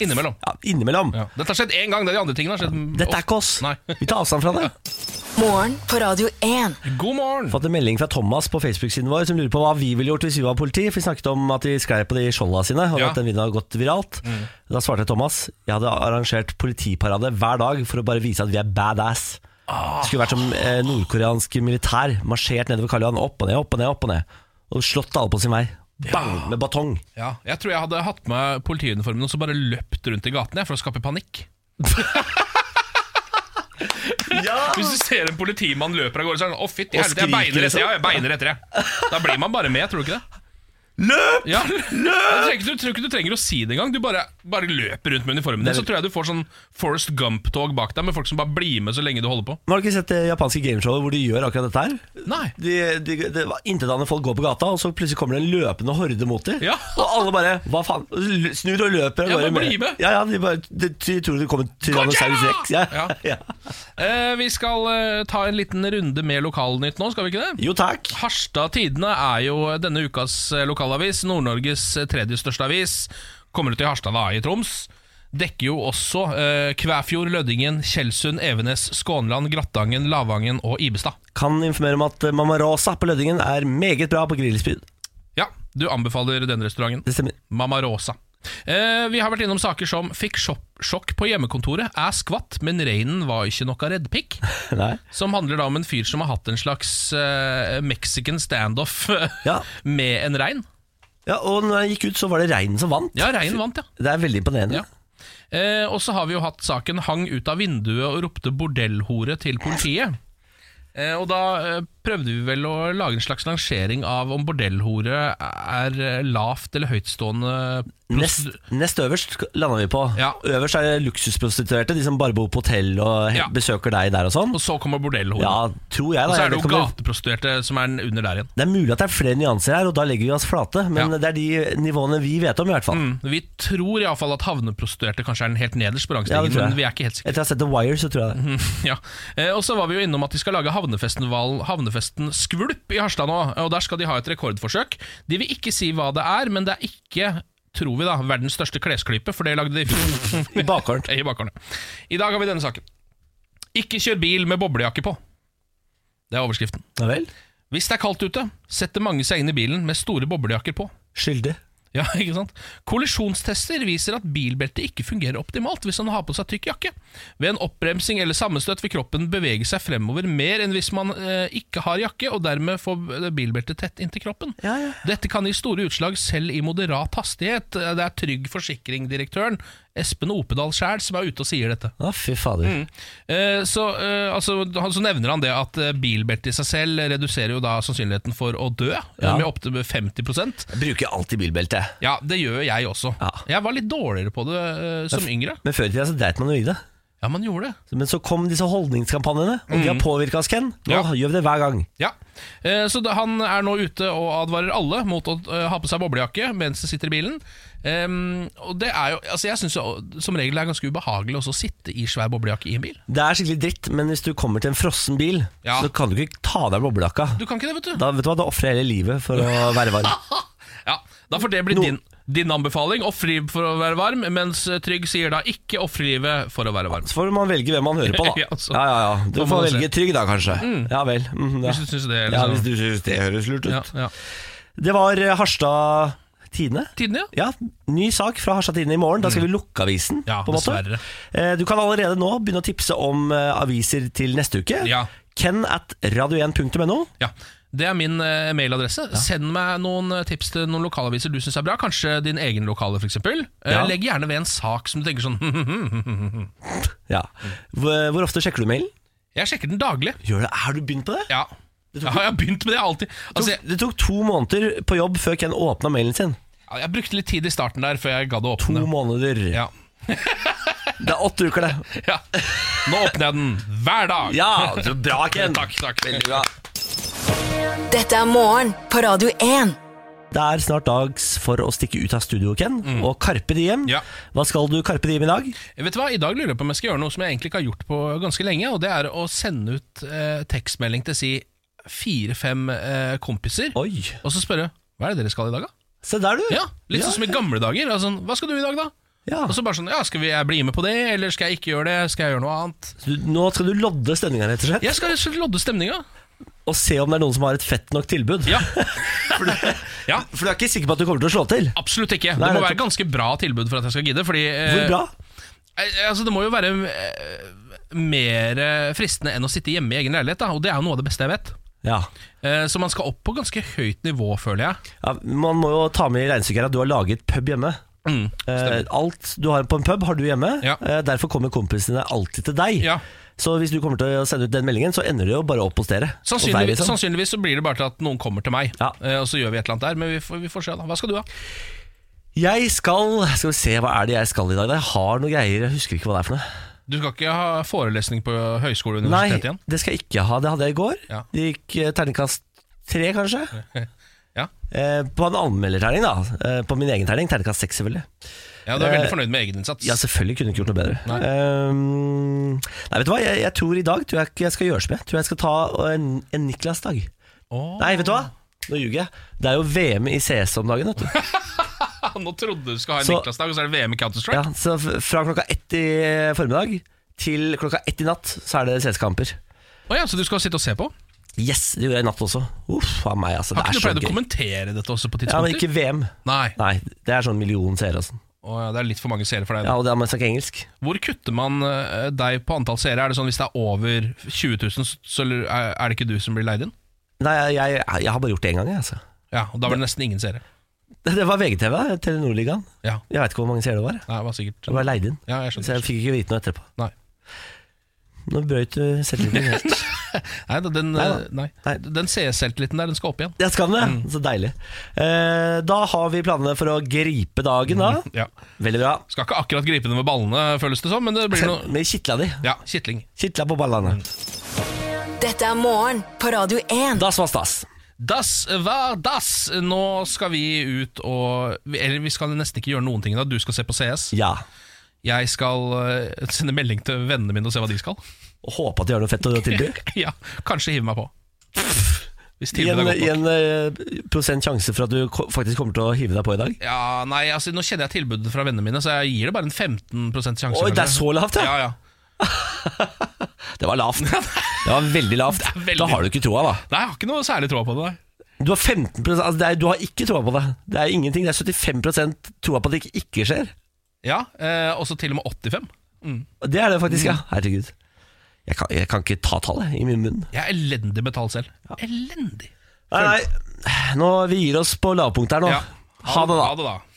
[SPEAKER 2] Innimellom.
[SPEAKER 1] ja, Innimellom
[SPEAKER 2] Ja. Dette har skjedd én gang. Det er de andre tingene har skjedd
[SPEAKER 1] Dette er ikke oss
[SPEAKER 2] Nei.
[SPEAKER 1] Vi tar avstand fra det
[SPEAKER 3] Morgen på Radio 1.
[SPEAKER 2] God morgen!
[SPEAKER 1] fått en melding fra Thomas på Facebook-siden vår som lurer på hva vi ville gjort hvis vi var politi. For vi snakket om at de sklei på de skjolda sine, og
[SPEAKER 2] Ja. Mm.
[SPEAKER 1] at den videoen har gått viralt. Da svarte Thomas jeg hadde arrangert politiparade hver dag for å bare vise at vi er badass.
[SPEAKER 2] Ah.
[SPEAKER 1] Det Skulle vært som eh, nordkoreansk militær, marsjert nedover Karl Johan, opp og ned, opp og ned, opp og ned. Og slått alle på sin vei. Bang! Med batong.
[SPEAKER 2] Ja, jeg tror jeg hadde hatt med politiuniformen og så bare løpt rundt i gatene jeg, for å skape panikk. Hvis du ser en politimann løper av gårde, så er han 'Å, fytti
[SPEAKER 1] Og
[SPEAKER 2] helvete, jeg beiner
[SPEAKER 1] skriker,
[SPEAKER 2] etter', ja, jeg beiner etter jeg. Da blir man bare med, tror du ikke det? Løp! Ja. Jeg tror ikke, du tror ikke du trenger å si det engang. Du bare, bare løper rundt med uniformen din. Så tror jeg du får sånn Forest Gump-tog bak deg med folk som bare blir med så lenge du holder på.
[SPEAKER 1] Men har du ikke sett det japanske gameshowet hvor de gjør akkurat dette her?
[SPEAKER 2] Nei
[SPEAKER 1] De, de, de, Intetanende folk går på gata, og så plutselig kommer det en løpende horde mot dem.
[SPEAKER 2] Ja.
[SPEAKER 1] Og alle bare Hva faen? Og så l- Snur og løper. av
[SPEAKER 2] Ja,
[SPEAKER 1] gårde
[SPEAKER 2] men bli med.
[SPEAKER 1] Ja, ja, de, bare, de, de tror det kommer Tyrannosaurus
[SPEAKER 2] Godzilla!
[SPEAKER 1] rex. Ja.
[SPEAKER 2] Ja.
[SPEAKER 1] Ja.
[SPEAKER 2] Eh, vi skal eh, ta en liten runde med lokalnytt nå, skal vi ikke det?
[SPEAKER 1] Jo takk.
[SPEAKER 2] Harstad Tidene er jo denne ukas eh, lokalavis, Nord-Norges eh, tredje største avis. Kommer ut i Harstad da, i Troms. Dekker jo også eh, Kvæfjord, Lødingen, Tjeldsund, Evenes, Skånland, Grattangen, Lavangen og Ibestad.
[SPEAKER 1] Kan informere om at eh, Mamma Rosa på Lødingen er meget bra på grillspyd.
[SPEAKER 2] Ja, du anbefaler den restauranten.
[SPEAKER 1] Det stemmer.
[SPEAKER 2] Mamma Rosa. Eh, vi har vært innom saker som fikk sjokk sjokk på hjemmekontoret, er skvatt, men reinen var ikke noe reddpikk.
[SPEAKER 1] Nei.
[SPEAKER 2] Som handler da om en fyr som har hatt en slags eh, mexican standoff eh,
[SPEAKER 1] Ja.
[SPEAKER 2] med en rein.
[SPEAKER 1] Ja, og når jeg gikk ut, så var det reinen som vant.
[SPEAKER 2] Ja, reinen vant, ja.
[SPEAKER 1] Det er veldig imponerende.
[SPEAKER 2] Ja. Eh, og så har vi jo hatt saken 'hang ut av vinduet og ropte bordellhore' til politiet. Eh, og da eh, prøvde vi vel å lage en slags lansering av om bordellhore er eh, lavt eller høytstående
[SPEAKER 1] Nest, nest øverst landa vi på.
[SPEAKER 2] Ja.
[SPEAKER 1] Øverst er det luksusprostituerte, de som bare bor på hotell og he-
[SPEAKER 2] Ja.
[SPEAKER 1] besøker deg der og sånn.
[SPEAKER 2] Og så kommer bordellhore.
[SPEAKER 1] Ja, tror jeg da.
[SPEAKER 2] og så
[SPEAKER 1] Jeg
[SPEAKER 2] er
[SPEAKER 1] vet
[SPEAKER 2] det jo
[SPEAKER 1] ikke om
[SPEAKER 2] gateprostituerte som er under der igjen.
[SPEAKER 1] Det er mulig at det er flere nyanser her, og da legger vi oss flate. Men
[SPEAKER 2] Ja.
[SPEAKER 1] det er de nivåene vi vet om, i hvert fall.
[SPEAKER 2] Mm. Vi tror iallfall at havneprostituerte kanskje er den helt nederst på
[SPEAKER 1] Ja, det
[SPEAKER 2] rangstigen,
[SPEAKER 1] tror jeg.
[SPEAKER 2] men vi er ikke helt sikre.
[SPEAKER 1] Etter å ha sett The Wire, så tror jeg det.
[SPEAKER 2] Ja, eh, og så var vi jo innom at de skal lage havnefestival- havnefesten Skvulp i Harstad nå, og der skal de ha et rekordforsøk. De vil ikke si hva det er, men det er ikke tror vi da, verdens største klesklype, for det lagde de i fjor.
[SPEAKER 1] I bakhånd.
[SPEAKER 2] I bakgården. I dag har vi denne saken. Ikke kjør bil med boblejakke på. Det er overskriften.
[SPEAKER 1] Ja vel.
[SPEAKER 2] Hvis det er kaldt ute, setter mange seg inn i bilen med store boblejakker på.
[SPEAKER 1] Skyldig.
[SPEAKER 2] Ja, ikke sant? Kollisjonstester viser at bilbeltet ikke fungerer optimalt hvis han har på seg tykk jakke. Ved en oppbremsing eller sammenstøt vil kroppen bevege seg fremover mer enn hvis man eh, ikke har jakke, og dermed får bilbeltet tett inntil kroppen.
[SPEAKER 1] Ja, ja, ja.
[SPEAKER 2] Dette kan gi store utslag selv i moderat hastighet. Eh, Det er Trygg Forsikring-direktøren Espen Opedal sjæl som er ute og sier dette.
[SPEAKER 1] Å, fy fader.
[SPEAKER 2] Eh, Så, eh, altså, han- så nevner han det at eh, bilbeltet i seg selv reduserer jo da sannsynligheten for å dø eh,
[SPEAKER 1] Ja.
[SPEAKER 2] med opptil 50
[SPEAKER 1] Jeg bruker alltid bilbelte.
[SPEAKER 2] ja, det gjør jeg også.
[SPEAKER 1] Ja.
[SPEAKER 2] Jeg var litt dårligere på det eh, som yngre.
[SPEAKER 1] Men før i tida så dreit man jo i det.
[SPEAKER 2] Ja, man gjorde det.
[SPEAKER 1] Men så kom disse holdningskampanjene, og de har påvirka oss, Ken. Nå
[SPEAKER 2] Mm. Ja.
[SPEAKER 1] gjør vi det hver gang.
[SPEAKER 2] Ja. Eh, Så da, han er nå ute og advarer alle mot å eh, ha på seg boblejakke mens de sitter i bilen. Em, og det er jo, altså Jeg syns som regel det er ganske ubehagelig også å sitte i svær boblejakke i en bil.
[SPEAKER 1] Det er skikkelig dritt, men hvis du kommer til en frossen bil,
[SPEAKER 2] Ja.
[SPEAKER 1] så kan du ikke ta av deg boblejakka.
[SPEAKER 2] Du kan ikke det, vet du.
[SPEAKER 1] Da vet du hva, da ofrer jeg hele livet for å være varm.
[SPEAKER 2] Ja, Da får det bli din, din anbefaling. Ofre livet for å være varm, mens eh, Trygg sier da ikke ofre livet for å være varm.
[SPEAKER 1] Så får man velge hvem man hører på, da.
[SPEAKER 2] Ja, altså.
[SPEAKER 1] Ja, ja, ja. Du får
[SPEAKER 2] Får man se. Mm.
[SPEAKER 1] velge Trygg, da, kanskje. Ja vel. Mhm, ja.
[SPEAKER 2] Hvis du synes det,
[SPEAKER 1] ja,
[SPEAKER 2] liksom.
[SPEAKER 1] hvis du syns det høres lurt ut.
[SPEAKER 2] Ja, ja.
[SPEAKER 1] Det var eh, Harstad Tidende.
[SPEAKER 2] Tiden, ja.
[SPEAKER 1] Ja, ny sak fra Harstad Tidende i morgen. Da skal vi lukke avisen.
[SPEAKER 2] Mm. Ja,
[SPEAKER 1] på en måte.
[SPEAKER 2] dessverre.
[SPEAKER 1] Eh, Du kan allerede nå begynne å tipse om eh, aviser til neste uke.
[SPEAKER 2] Ja.
[SPEAKER 1] Ken at radio1.no.
[SPEAKER 2] Ja, det er min eh, mailadresse. Send meg noen eh, tips til noen lokalaviser du syns er bra. Kanskje din egen lokale, f.eks. Eh,
[SPEAKER 1] Ja.
[SPEAKER 2] Legg gjerne ved en sak som du tenker sånn
[SPEAKER 1] Ja.
[SPEAKER 2] Mm.
[SPEAKER 1] Hvor hvor ofte sjekker du mailen?
[SPEAKER 2] Jeg sjekker den daglig.
[SPEAKER 1] Gjør det, Har du begynt på det?
[SPEAKER 2] Ja. ja, jeg har begynt med det alltid.
[SPEAKER 1] Det tok,
[SPEAKER 2] Altså, jeg,
[SPEAKER 1] det tok to måneder på jobb før Ken åpna mailen sin.
[SPEAKER 2] ja, jeg brukte litt tid i starten der før jeg gadd å
[SPEAKER 1] To
[SPEAKER 2] åpne.
[SPEAKER 1] måneder.
[SPEAKER 2] Ja.
[SPEAKER 1] Det er åtte uker, det.
[SPEAKER 2] ja. Nå åpner jeg den hver dag.
[SPEAKER 1] Ja, så bra, Ken.
[SPEAKER 2] Takk, takk.
[SPEAKER 1] Veldig bra.
[SPEAKER 3] Dette er morgen på Radio 1.
[SPEAKER 1] Det er snart dags for å stikke ut av studio, Ken, og Karpe Diem.
[SPEAKER 2] Mm. Ja.
[SPEAKER 1] Hva skal du Karpe Diem i dag?
[SPEAKER 2] Eh, Vet du hva, I dag lurer jeg på om jeg skal gjøre noe som jeg egentlig ikke har gjort på ganske lenge, og det er å sende ut eh, tekstmelding til si fire-fem eh, kompiser,
[SPEAKER 1] Oi,
[SPEAKER 2] og så spørre hva er det dere skal i dag, da?
[SPEAKER 1] se der du.
[SPEAKER 2] Ja, Litt sånn som i gamle dager. Altså, hva skal du i dag, da?
[SPEAKER 1] Ja.
[SPEAKER 2] Og så bare sånn, ja, Skal vi, jeg bli med på det, eller skal jeg ikke gjøre det? Skal jeg gjøre noe annet?
[SPEAKER 1] Du, nå skal du lodde stemninga, rett og slett.
[SPEAKER 2] Jeg skal rett og slett lodde stemninga.
[SPEAKER 1] Og se om det er noen som har et fett nok tilbud.
[SPEAKER 2] Ja.
[SPEAKER 1] For, du,
[SPEAKER 2] ja,
[SPEAKER 1] for du er ikke sikker på at du kommer til å slå til?
[SPEAKER 2] absolutt ikke.
[SPEAKER 1] Nei,
[SPEAKER 2] Det må
[SPEAKER 1] nettopp.
[SPEAKER 2] være ganske bra tilbud for at jeg skal gidde. Fordi, eh,
[SPEAKER 1] Hvor bra?
[SPEAKER 2] eh, Altså, det må jo være eh, mer eh, fristende enn å sitte hjemme i egen leilighet, da. og det er jo noe av det beste jeg vet.
[SPEAKER 1] Ja.
[SPEAKER 2] Eh, Så man skal opp på ganske høyt nivå, føler jeg.
[SPEAKER 1] ja man må jo ta med i regnestykket her at du har laget pub hjemme.
[SPEAKER 2] Mm.
[SPEAKER 1] Eh, alt du har på en pub, har du hjemme.
[SPEAKER 2] Ja.
[SPEAKER 1] Eh, derfor kommer kompisene dine alltid til deg.
[SPEAKER 2] Ja.
[SPEAKER 1] Så hvis du kommer til å sende ut den meldingen, så ender det jo bare opp hos dere. Hos deg,
[SPEAKER 2] Sannsynligvis,
[SPEAKER 1] liksom.
[SPEAKER 2] sannsynligvis så blir det bare til at noen kommer til meg,
[SPEAKER 1] Ja.
[SPEAKER 2] eh, og så gjør vi et eller annet der. Men vi får, vi får se, da. Hva skal du ha?
[SPEAKER 1] Jeg skal Skal vi se, hva er det jeg skal i dag? Jeg har noen greier, jeg husker ikke hva det er for noe.
[SPEAKER 2] Du skal ikke ha forelesning på høyskole
[SPEAKER 1] Nei,
[SPEAKER 2] og universitet igjen?
[SPEAKER 1] det skal jeg ikke ha. Det hadde jeg i går.
[SPEAKER 2] Ja.
[SPEAKER 1] Det gikk eh, terningkast tre, kanskje.
[SPEAKER 2] Ja.
[SPEAKER 1] Eh, på en anmelderterning, da. Eh, på min egen terning. Terningkast seks, selvfølgelig.
[SPEAKER 2] Ja, Du er
[SPEAKER 1] Eh,
[SPEAKER 2] veldig fornøyd med egeninnsats.
[SPEAKER 1] Ja, selvfølgelig kunne jeg ikke gjort noe bedre.
[SPEAKER 2] Nei.
[SPEAKER 1] Ehm, nei, vet du hva? Jeg, jeg tror i dag tror jeg ikke jeg skal gjøre som jeg. Tror jeg skal ta eh, en, en Niklas-dag.
[SPEAKER 2] Åh.
[SPEAKER 1] Nei, vet du hva? Nå ljuger jeg. Det er jo VM i CS om dagen, vet du.
[SPEAKER 2] Nå trodde du skulle ha en
[SPEAKER 1] Så-
[SPEAKER 2] Niklas-dag, og så er det VM i
[SPEAKER 1] Ja,
[SPEAKER 2] Counter-Strike?
[SPEAKER 1] så f- fra klokka ett i formiddag til klokka ett i natt, så er det CS-kamper.
[SPEAKER 2] Å ja, så du skal sitte og se på?
[SPEAKER 1] Yes, det gjorde jeg i natt også. Uff a meg, altså.
[SPEAKER 2] Har
[SPEAKER 1] Det er
[SPEAKER 2] ikke du
[SPEAKER 1] så
[SPEAKER 2] pleid å
[SPEAKER 1] gøy.
[SPEAKER 2] kommentere dette også på
[SPEAKER 1] Ja,
[SPEAKER 2] tidspunkter?
[SPEAKER 1] men ikke VM.
[SPEAKER 2] Nei.
[SPEAKER 1] Nei, det er sånn million seere og sånn.
[SPEAKER 2] Å ja, det er litt for mange seere for deg.
[SPEAKER 1] Ja,
[SPEAKER 2] da.
[SPEAKER 1] og det er man snakker engelsk.
[SPEAKER 2] Hvor kutter man eh, deg på antall seere? Er det sånn hvis det er over 20 000, så- så er er det ikke du som blir leid inn?
[SPEAKER 1] Nei, jeg, jeg, jeg har bare gjort det én gang, jeg, altså.
[SPEAKER 2] Ja, og da var det nesten ingen seere.
[SPEAKER 1] Det det var VGTV, da, Telenor-ligaen.
[SPEAKER 2] Ja,
[SPEAKER 1] Jeg veit ikke hvor mange seere det var.
[SPEAKER 2] nei, det var sikkert
[SPEAKER 1] Jeg var leid inn.
[SPEAKER 2] Ja, jeg
[SPEAKER 1] Så
[SPEAKER 2] skjønner.
[SPEAKER 1] jeg fikk ikke vite noe etterpå.
[SPEAKER 2] Nei.
[SPEAKER 1] Nå brøyt du selvtilliten helt.
[SPEAKER 2] Nei, da, den,
[SPEAKER 1] Nei da.
[SPEAKER 2] eh, nei.
[SPEAKER 1] Nei.
[SPEAKER 2] den CS-selvtilliten der, den skal opp igjen.
[SPEAKER 1] Jeg skal
[SPEAKER 2] Mm.
[SPEAKER 1] det, så deilig. Eh, da har vi planene for å gripe dagen, da.
[SPEAKER 2] Ja.
[SPEAKER 1] Veldig bra.
[SPEAKER 2] Skal ikke akkurat gripe den med ballene, føles det som, men det blir noe Mm.
[SPEAKER 1] Med kitla di.
[SPEAKER 2] Ja, kitling.
[SPEAKER 1] Kitla på ballene.
[SPEAKER 3] Dette er morgen på Radio 1.
[SPEAKER 1] Das var stas.
[SPEAKER 2] Das var das! Nå skal vi ut og Eller vi skal nesten ikke gjøre noen ting da. Du skal se på CS.
[SPEAKER 1] Ja.
[SPEAKER 2] Jeg skal eh, sende melding til vennene mine og se hva de skal.
[SPEAKER 1] Og håpe at de har noe fett å tilby.
[SPEAKER 2] ja, Kanskje hive meg på. Hvis
[SPEAKER 1] I
[SPEAKER 2] tiden
[SPEAKER 1] en,
[SPEAKER 2] er
[SPEAKER 1] i
[SPEAKER 2] godt nok.
[SPEAKER 1] en eh, prosent sjanse for at du ko- faktisk kommer til å hive deg på i dag.
[SPEAKER 2] Ja, nei, altså Nå kjenner jeg tilbudet fra vennene mine, så jeg gir det bare en 15 sjanse.
[SPEAKER 1] Oi,
[SPEAKER 2] kanskje.
[SPEAKER 1] det er så lavt, ja!
[SPEAKER 2] Ja, ja.
[SPEAKER 1] Det var lavt. Det var veldig lavt.
[SPEAKER 2] veldig-
[SPEAKER 1] Da har du ikke troa, da.
[SPEAKER 2] Nei, jeg har ikke noe særlig tro på det. nei.
[SPEAKER 1] Du har 15 altså det er, Du har ikke troa på det. Det er ingenting. Det er 75 troa på at det ikke, ikke skjer.
[SPEAKER 2] Ja, eh, også til og med 85.
[SPEAKER 1] Det er det faktisk, ja. Herregud. Jeg kan, jeg kan ikke ta tallet i min munn.
[SPEAKER 2] Jeg er elendig med tall selv. Elendig.
[SPEAKER 1] Nei, nei. Nå, vi gir oss på lavpunktet her nå.
[SPEAKER 2] Ja.
[SPEAKER 1] Ha det, da.
[SPEAKER 2] Ha det da.